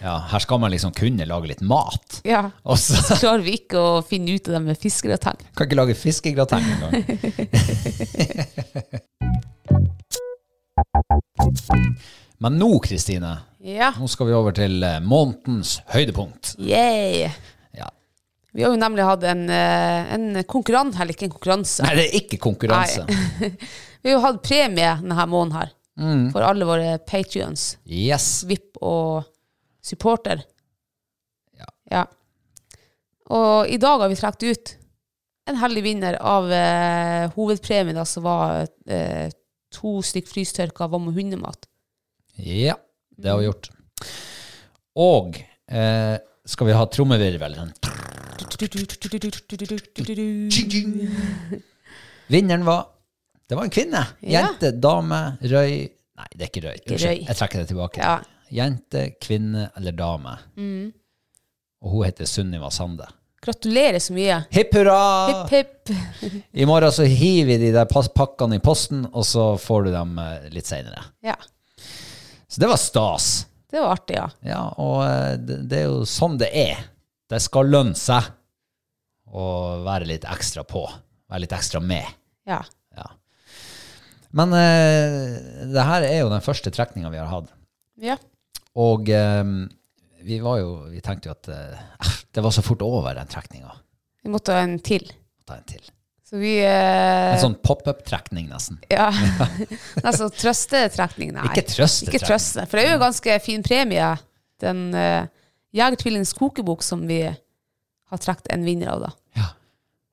S2: ja, Her skal man liksom kunne lage litt mat.
S3: ja.
S2: Og så
S3: Så klarer vi ikke å finne ut av det med fiskegrateng.
S2: kan ikke lage fiskegrateng engang. Men nå, Kristine,
S3: Ja.
S2: nå skal vi over til eh, månedens høydepunkt.
S3: Yeah.
S2: Ja.
S3: Vi har jo nemlig hatt en, eh, en konkurranse, eller ikke en konkurranse.
S2: Nei, det er ikke konkurranse.
S3: Vi har jo hatt premie denne måneden her for alle våre patrions,
S2: Mm, Yes.
S3: VIP og supporter.
S2: Ja.
S3: Og i dag har vi trukket ut en heldig vinner av eh, hovedpremien, da, som var eh, to stykk frystørka vann og hundemat.
S2: Ja, det har vi gjort. Og eh, skal vi ha trommevirvel. Sånn. Vinneren var Det var en kvinne.
S3: Ja.
S2: Jente, dame, røy Nei, det er ikke røy.
S3: røy.
S2: Unnskyld, jeg trekker det tilbake.
S3: Ja.
S2: Jente, kvinne eller dame. Og hun heter Sunniva Sande.
S3: Gratulerer så mye.
S2: Hipp hurra!
S3: Hipp, hipp.
S2: I morgen så hiver vi de der pas- pakkene i posten, og så får du dem eh, litt seinere.
S3: Ja.
S2: Så det var stas.
S3: Det var artig, ja.
S2: Ja, og eh, det, det er jo sånn det er. Det skal lønne seg å være litt ekstra på. Være litt ekstra med.
S3: ja.
S2: Ja. Men eh, det her er jo den første trekninga vi har hatt.
S3: Ja.
S2: Og eh, vi var jo Vi tenkte jo at eh, det var så fort over, den trekninga.
S3: Vi måtte ha en til.
S2: Ta en til.
S3: Så vi eh,
S2: En sånn pop up-trekning, nesten.
S3: Ja. altså trøstetrekning, nei.
S2: Ikke trøstetrekning.
S3: Ikke trøste. For det er jo en ganske fin premie, den uh, Jegertvillingens kokebok som vi har trukket en vinner av, da.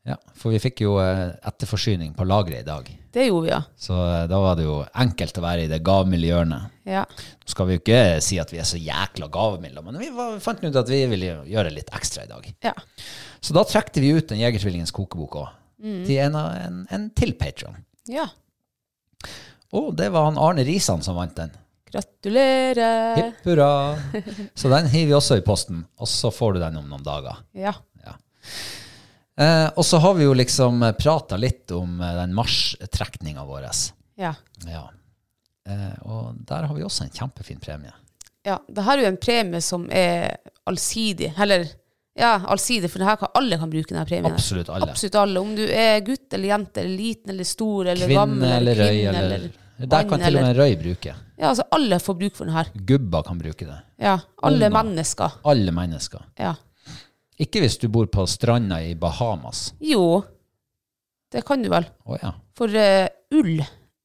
S2: Ja, for vi fikk jo eh, etterforsyning på lageret i dag.
S3: Det gjorde vi, ja.
S2: Så eh, da var det jo enkelt å være i det gavmilde hjørnet.
S3: ja.
S2: Nå skal vi jo ikke si at vi er så jækla gavmilde, men vi var, fant ut at vi ville gjøre litt ekstra i dag.
S3: Ja.
S2: Så da trekte vi ut en Jegertvillingens kokebok òg,
S3: Mm.
S2: til en, av- en, en til patron.
S3: ja.
S2: Og det var han Arne Risan som vant den.
S3: Gratulerer.
S2: Hipp hurra! Så den hiver vi også i posten, og så får du den om noen dager.
S3: Ja.
S2: Eh, og så har vi jo liksom prata litt om eh, den mars-trekninga vår.
S3: ja.
S2: Ja. Eh, og der har vi også en kjempefin premie.
S3: Ja, det her er jo en premie som er allsidig, eller ja, allsidig, for det her kan alle kan bruke denne premien. her.
S2: Absolutt alle.
S3: Absolutt alle, om du er gutt eller jente, eller liten eller stor, eller
S2: Kvinne
S3: gammel,
S2: eller røy
S3: kvinne,
S2: eller, Der kan
S3: mann,
S2: til og
S3: eller-
S2: med røy bruke.
S3: Ja, altså alle får bruk for den her.
S2: Gubba kan bruke det.
S3: Ja, alle
S2: Unger.
S3: mennesker.
S2: Alle mennesker.
S3: Ja.
S2: Ikke hvis du bor på stranda i Bahamas.
S3: Jo, det kan du vel.
S2: Å ja.
S3: For eh, ull,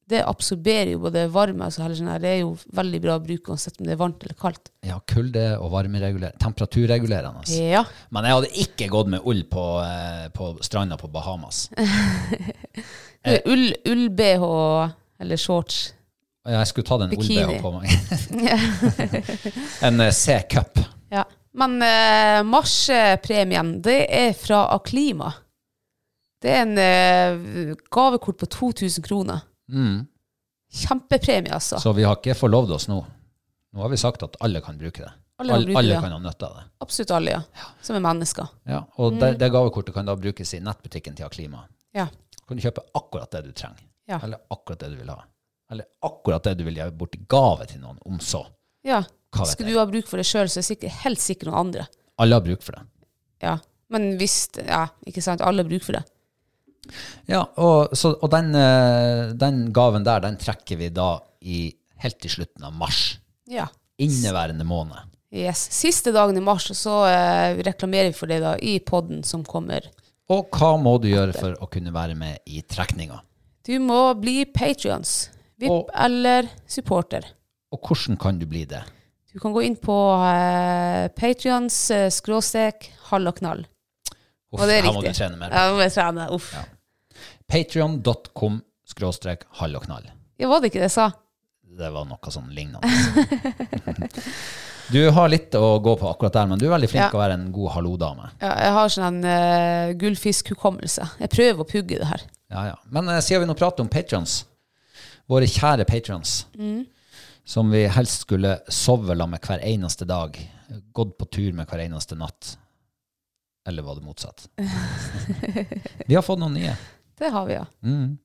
S3: det absorberer jo både varme, altså heller sånn her, det er jo veldig bra å bruke uansett om det er varmt eller kaldt.
S2: Ja, kulde og varmereguler. Temperaturregulerende.
S3: Ja,
S2: Men jeg hadde ikke gått med ull på, eh, på stranda på Bahamas.
S3: Det er ull, ull BH, eller shorts.
S2: Og Jeg skulle tatt en ull-BH
S3: Bikini.
S2: på meg. en eh, C-cup.
S3: Ja. Men eh, marsjpremien, det er fra Aklima. Det er en eh, gavekort på 2000 kroner. Kjempepremie, altså.
S2: Mm. Så vi har ikke forlovd oss nå. Nå har vi sagt at alle kan bruke det.
S3: Alle kan
S2: Alle,
S3: bruke
S2: alle
S3: det.
S2: kan ha nytte av det.
S3: Absolutt alle, ja. Som er mennesker.
S2: Ja, og det,
S3: Mm.
S2: det gavekortet kan da brukes i nettbutikken til Aklima.
S3: Ja.
S2: Kan du kjøpe akkurat det du trenger,
S3: Ja.
S2: eller akkurat det du vil ha. Eller akkurat det du vil gi bort i gave til noen, om så.
S3: ja.
S2: Hva vet
S3: Skal
S2: jeg?
S3: du ha bruk for det sjøl, så er det sikkert, helt sikkert noen andre.
S2: Alle har bruk for det.
S3: Ja. Men hvis Ja, ikke sant. Alle har bruk for det.
S2: Ja, og, så, og den, eh, den gaven der, den trekker vi da i, helt til slutten av mars.
S3: Ja.
S2: Inneværende måned.
S3: Yes. Siste dagen i mars, så eh, reklamerer vi for det da i podden som kommer.
S2: Og hva må du gjøre for å kunne være med i trekninga?
S3: Du må bli patrions. VIP
S2: Og-
S3: eller supporter.
S2: Og hvordan kan du bli det?
S3: Du kan gå inn på eh, Patreons eh, skråstrek hall og knall.
S2: Uff,
S3: Og det er
S2: her
S3: riktig.
S2: må du trene mer.
S3: Ja, nå må jeg trene. Uff. Ja.
S2: Patreon.com skråstrek hall og knall.
S3: var det ikke det jeg sa?
S2: Det var noe sånn lignende. Du har litt å gå på akkurat der, men du er veldig flink
S3: Ja.
S2: til å være en god hallo-dame.
S3: Ja, jeg har sånn en uh, gullfiskhukommelse. Jeg prøver å pugge det her.
S2: Ja, ja. Men eh, siden vi nå prater om patrons, våre kjære patrons,
S3: Mm.
S2: som vi helst skulle sove la med hver eneste dag, gått på tur med hver eneste natt, eller var det motsatt? vi har fått noen nye.
S3: Det har vi, ja.
S2: Mm.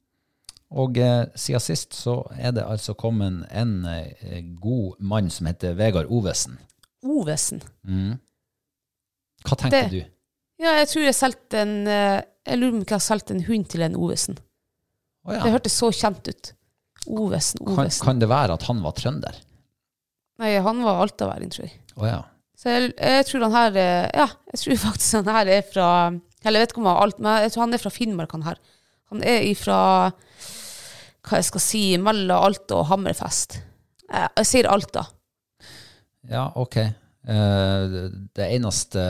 S2: Og eh, siden sist så er det altså kommet en eh, god mann som heter Vegard Ovesen.
S3: Ovesen.
S2: Mm. Hva tenker
S3: Det-
S2: du?
S3: Ja, jeg tror jeg solgte en eh, Jeg lurer på om jeg har solgt en hund til en Ovesen.
S2: Å ja.
S3: Det hørtes så kjent ut. Ovesen,
S2: kan,
S3: Ovesen.
S2: kan det være at han var trønder?
S3: Nei, han var altaværing, tror jeg.
S2: Å ja.
S3: Så jeg, jeg tror han her eh, Ja, jeg tror faktisk han her er fra Eller jeg vet ikke om han er alt, men jeg tror han er fra Finnmark, han her. Han er ifra Hva jeg skal si Mellom Alta og Hammerfest. Eh, Jeg sier Alta.
S2: Ja, ok. Eh, det eneste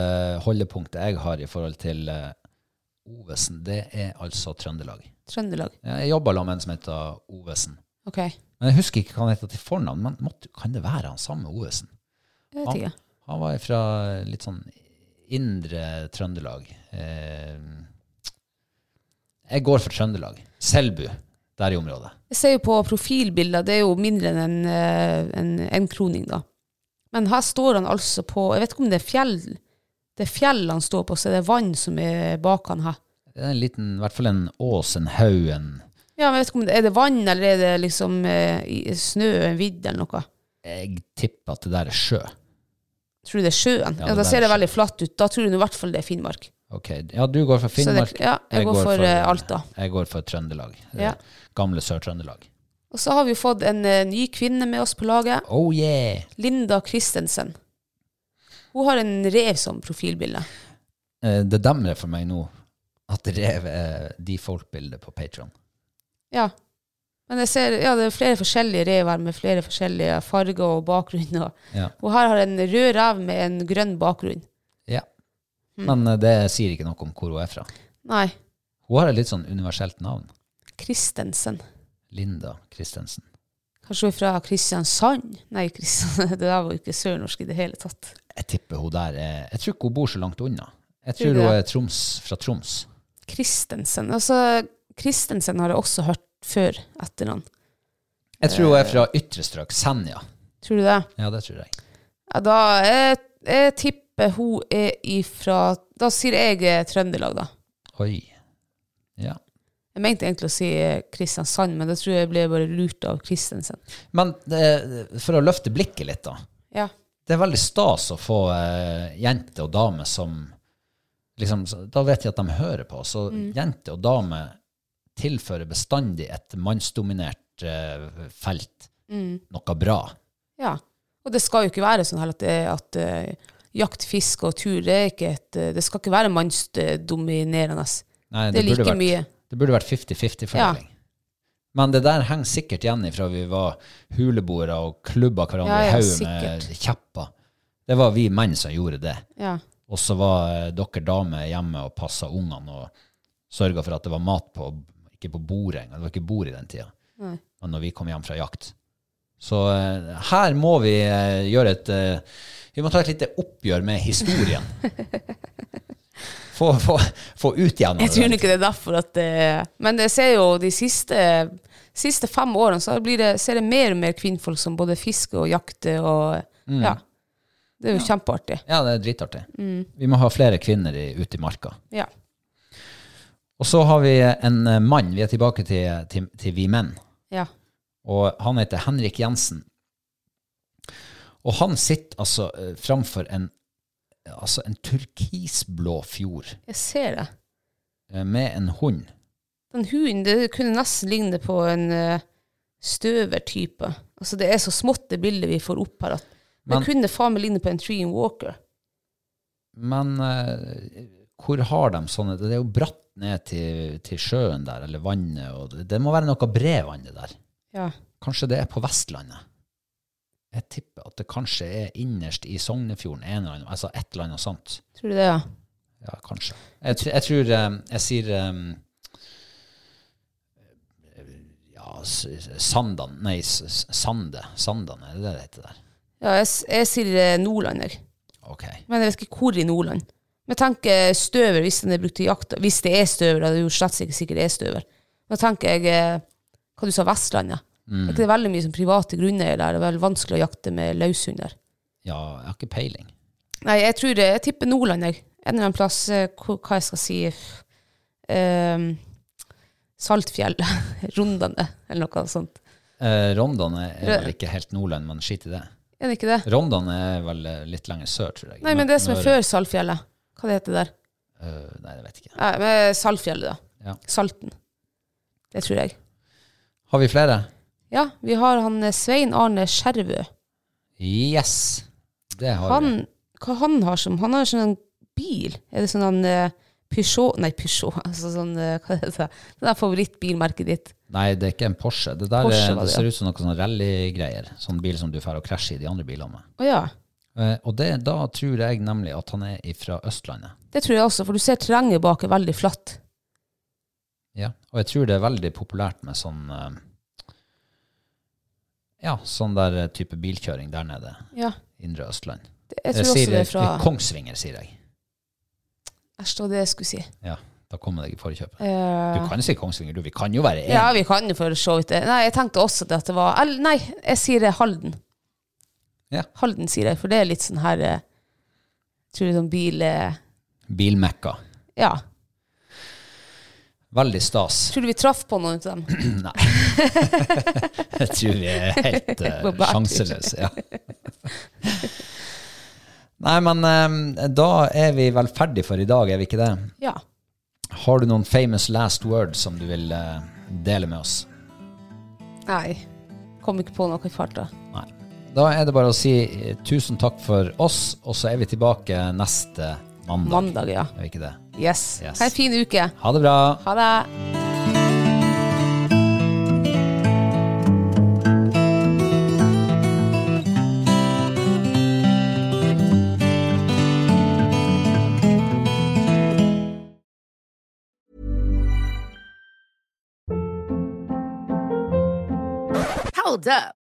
S2: holdepunktet jeg har i forhold til eh, Ovesen, det er altså Trøndelag.
S3: Trøndelag.
S2: Jeg jobba sammen med en som heter Ovesen.
S3: OK. Jeg
S2: Men jeg husker ikke hva han heter til fornavn, men måtte, kan det være han samme Ovesen?
S3: vet ikke.
S2: Han var fra litt sånn indre Trøndelag. Eh, jeg går for Trøndelag. Selbu, der i området.
S3: Jeg ser jo på profilbilder, det er jo mindre enn en, eh, en, en kroning, da. Men her står han altså på Jeg vet ikke om det er fjell det er fjell han står på, så er det vann som er bak han her.
S2: Det er en liten, i hvert fall en ås, en haug, en
S3: Ja, men jeg vet ikke om det, Er det vann, eller er det liksom eh, i- snø, en vidd, eller noe?
S2: Jeg tipper at det der er sjø.
S3: Tror du det er sjøen?
S2: Ja, det
S3: Ja, Da
S2: der
S3: ser
S2: er
S3: det veldig flatt ut. Da tror du i hvert fall det er Finnmark.
S2: Ok, Ja, du går for
S3: Så det,
S2: Finnmark.
S3: ja, jeg, går, for eh, Alta.
S2: Jeg går for Trøndelag.
S3: Ja.
S2: Eh, Gamle Sør-Trøndelag.
S3: Og så har vi jo fått en eh, ny kvinne med oss på laget.
S2: Oh yeah!
S3: Linda Christensen. Hun har en rev som profilbilde.
S2: Eh, Det demrer for meg nå at rev er de folkbildet på Patron.
S3: Ja. Men jeg ser, ja, det er flere forskjellige rev her med flere forskjellige farger og bakgrunner.
S2: Ja.
S3: Og her har en rød rev med en grønn bakgrunn.
S2: ja.
S3: Mm.
S2: Men eh, det sier ikke noe om hvor hun er fra.
S3: Nei,
S2: Hun har et litt sånn universelt navn.
S3: Christensen.
S2: Linda Christensen.
S3: Kanskje hun er fra Kristiansand? Nei, Kristian, det der var jo ikke sørnorsk i det hele tatt.
S2: Jeg tipper hun der er Jeg tror ikke hun bor så langt unna. Jeg
S3: Tror
S2: tror
S3: du
S2: hun
S3: det?
S2: er Troms, fra Troms.
S3: Christensen. Altså, Christensen har jeg også hørt før etter han.
S2: Jeg tror
S3: Eh.
S2: hun er fra ytre strøk. Senja.
S3: Tror du det?
S2: Ja, det tror jeg.
S3: Ja, da jeg, jeg tipper hun er ifra Da sier jeg eh, Trøndelag, da.
S2: Oi. Ja.
S3: Jeg mente egentlig å si eh, Kristiansand, men da tror jeg jeg ble bare lurt av Christensen.
S2: Men det, for å løfte blikket litt, da.
S3: Ja.
S2: det er veldig stas å få eh, jenter og damer som liksom, så- Da vet jeg at de hører på. Så
S3: Mm.
S2: jenter og damer tilfører bestandig et mannsdominert eh, felt
S3: Mm.
S2: noe bra.
S3: ja. Og det skal jo ikke være sånn heller at, det, at eh, jakt, fiske og tur det, er ikke et, eh, det skal ikke være mannsdominerende.
S2: Nei,
S3: Det er
S2: burde
S3: like
S2: vært,
S3: mye.
S2: Det burde vært 50-50-fordeling. Men det der henger sikkert igjen ifra vi var huleboere og klubba hverandre
S3: Ja,
S2: i
S3: ja,
S2: hodet med kjepper. Det var vi menn som gjorde det.
S3: Ja.
S2: Og så var eh, dere damer hjemme og passa ungene og sørga for at det var mat på Ikke på bordet engang, det var ikke bord i den tida.
S3: Nei.
S2: Men når vi kom hjem fra jakt. Så eh, her må vi eh, gjøre et eh, Vi må ta et lite oppgjør med historien. få, få, få ut igjen
S3: Jeg tror ikke det er derfor at det Men jeg ser jo de siste, siste fem årene så blir det, ser jeg mer og mer kvinnfolk som både fisker og jakter og Ja. Mm. Det er jo kjempeartig.
S2: Mm. Ja, det er dritartig. Vi må ha flere kvinner i, ute i marka.
S3: Ja.
S2: Og så har vi en eh, mann. Vi er tilbake til, til, til vi menn.
S3: ja.
S2: Og han heter Henrik Jensen. Og han sitter altså eh, framfor en, altså en turkisblå fjord
S3: Jeg ser det.
S2: eh, med en hund.
S3: Den hunden det kunne nesten ligne på en eh, støvertype. Altså, det er så smått det bildet vi får opp her, at
S2: Men-
S3: det kunne faen meg ligne på en Treen Walker.
S2: Men eh, hvor har de sånne Det er jo bratt ned til, til sjøen der, eller vannet. Og det, det må være noe brevann, det der.
S3: Ja.
S2: Kanskje det er på Vestlandet? Jeg tipper at det kanskje er innerst i Sognefjorden, en eller annen, altså et eller annet sånt.
S3: Tror du det, ja?
S2: Ja, kanskje. Jeg, tr- jeg tror eh, jeg sier eh, ja, S- S- Sandan Nei, S- S- Sande. Sandan, er det det det heter der?
S3: ja jeg, s- jeg sier eh, Nordland, jeg.
S2: Ok.
S3: Men jeg vet ikke hvor i Nordland. Men tenk eh, støver, hvis den er brukt til jakt. Hvis det er støver, da er det jo slett ikke sikkert det er støver. Da tenker jeg eh, Hva du sa, Vestlandet?
S2: Mm,
S3: Er ikke det veldig mye som private grunneiere der? Det er vel vanskelig å jakte med løshund der.
S2: Ja, jeg har ikke peiling.
S3: Nei, jeg tror det. Jeg tipper Nordland, jeg. En eller annen plass eh, hvor, Hva jeg skal si Ehm, Saltfjell. Rondane, eller noe sånt.
S2: Eh, Rondane er
S3: Rø-
S2: vel ikke helt Nordland, men skit i det.
S3: Er det ikke det?
S2: Rondane er vel eh, litt lenger sør, tror jeg.
S3: Nei, men det som er
S2: Møre-
S3: før Saltfjellet. Hva det heter det der?
S2: Eh, Nei, jeg vet ikke.
S3: Nei, men Saltfjellet, da.
S2: Ja.
S3: Salten. Det tror jeg.
S2: Har vi flere?
S3: Ja, vi har han eh, Svein Arne Skjervø.
S2: Yes! Det har vi.
S3: Han, hva han har som Han har sånn en bil. Er det sånn han eh, Peugeot Nei, Peugeot. Altså sånn eh, Hva heter det? Det der favorittbilmerket ditt.
S2: Nei, det er ikke en Porsche. Det der
S3: Porsche
S2: er,
S3: var
S2: det
S3: det,
S2: ser ut som noe sånn rallygreier. Sånn bil som du får å krasje i de andre bilene med.
S3: Å ja.
S2: Eh, Og det, da tror jeg nemlig at han er fra Østlandet.
S3: Det tror jeg også, for du ser terrenget bak er veldig flatt.
S2: Ja. Og jeg tror det er veldig populært med sånn eh, Ja, sånn der eh, type bilkjøring der nede.
S3: Ja.
S2: Indre Østland.
S3: Det, jeg tror også
S2: sier
S3: det er fra
S2: Kongsvinger, sier jeg.
S3: Æsj, det var det jeg skulle si.
S2: Ja, da kommer jeg deg i forkjøpet.
S3: Eh,
S2: Du kan si Kongsvinger, du. Vi kan jo være én.
S3: ja, vi kan jo for så vidt det. Nei, jeg tenkte også at det var eller, Nei, jeg sier det Halden.
S2: Ja.
S3: Halden sier jeg, for det er litt sånn her eh, Tror du sånn bil eh,
S2: Bilmekka.
S3: Ja.
S2: Veldig stas.
S3: Tror du vi traff på noen av dem?
S2: Nei. Jeg tror vi er helt eh,
S3: På bærtur.
S2: sjanseløse. Ja. Nei, men eh, da er vi vel ferdig for i dag, er vi ikke det?
S3: Ja.
S2: Har du noen famous last words som du vil eh, dele med oss?
S3: Nei. Kom ikke på noe i farta.
S2: Nei. Da er det bare å si eh, tusen takk for oss, og så er vi tilbake neste mandag.
S3: Mandag, ja.
S2: Er vi ikke det?
S3: Yes.
S2: Yes.
S3: Ha en fin uke.
S2: Ha det bra!
S3: Ha det.
S4: Hold up.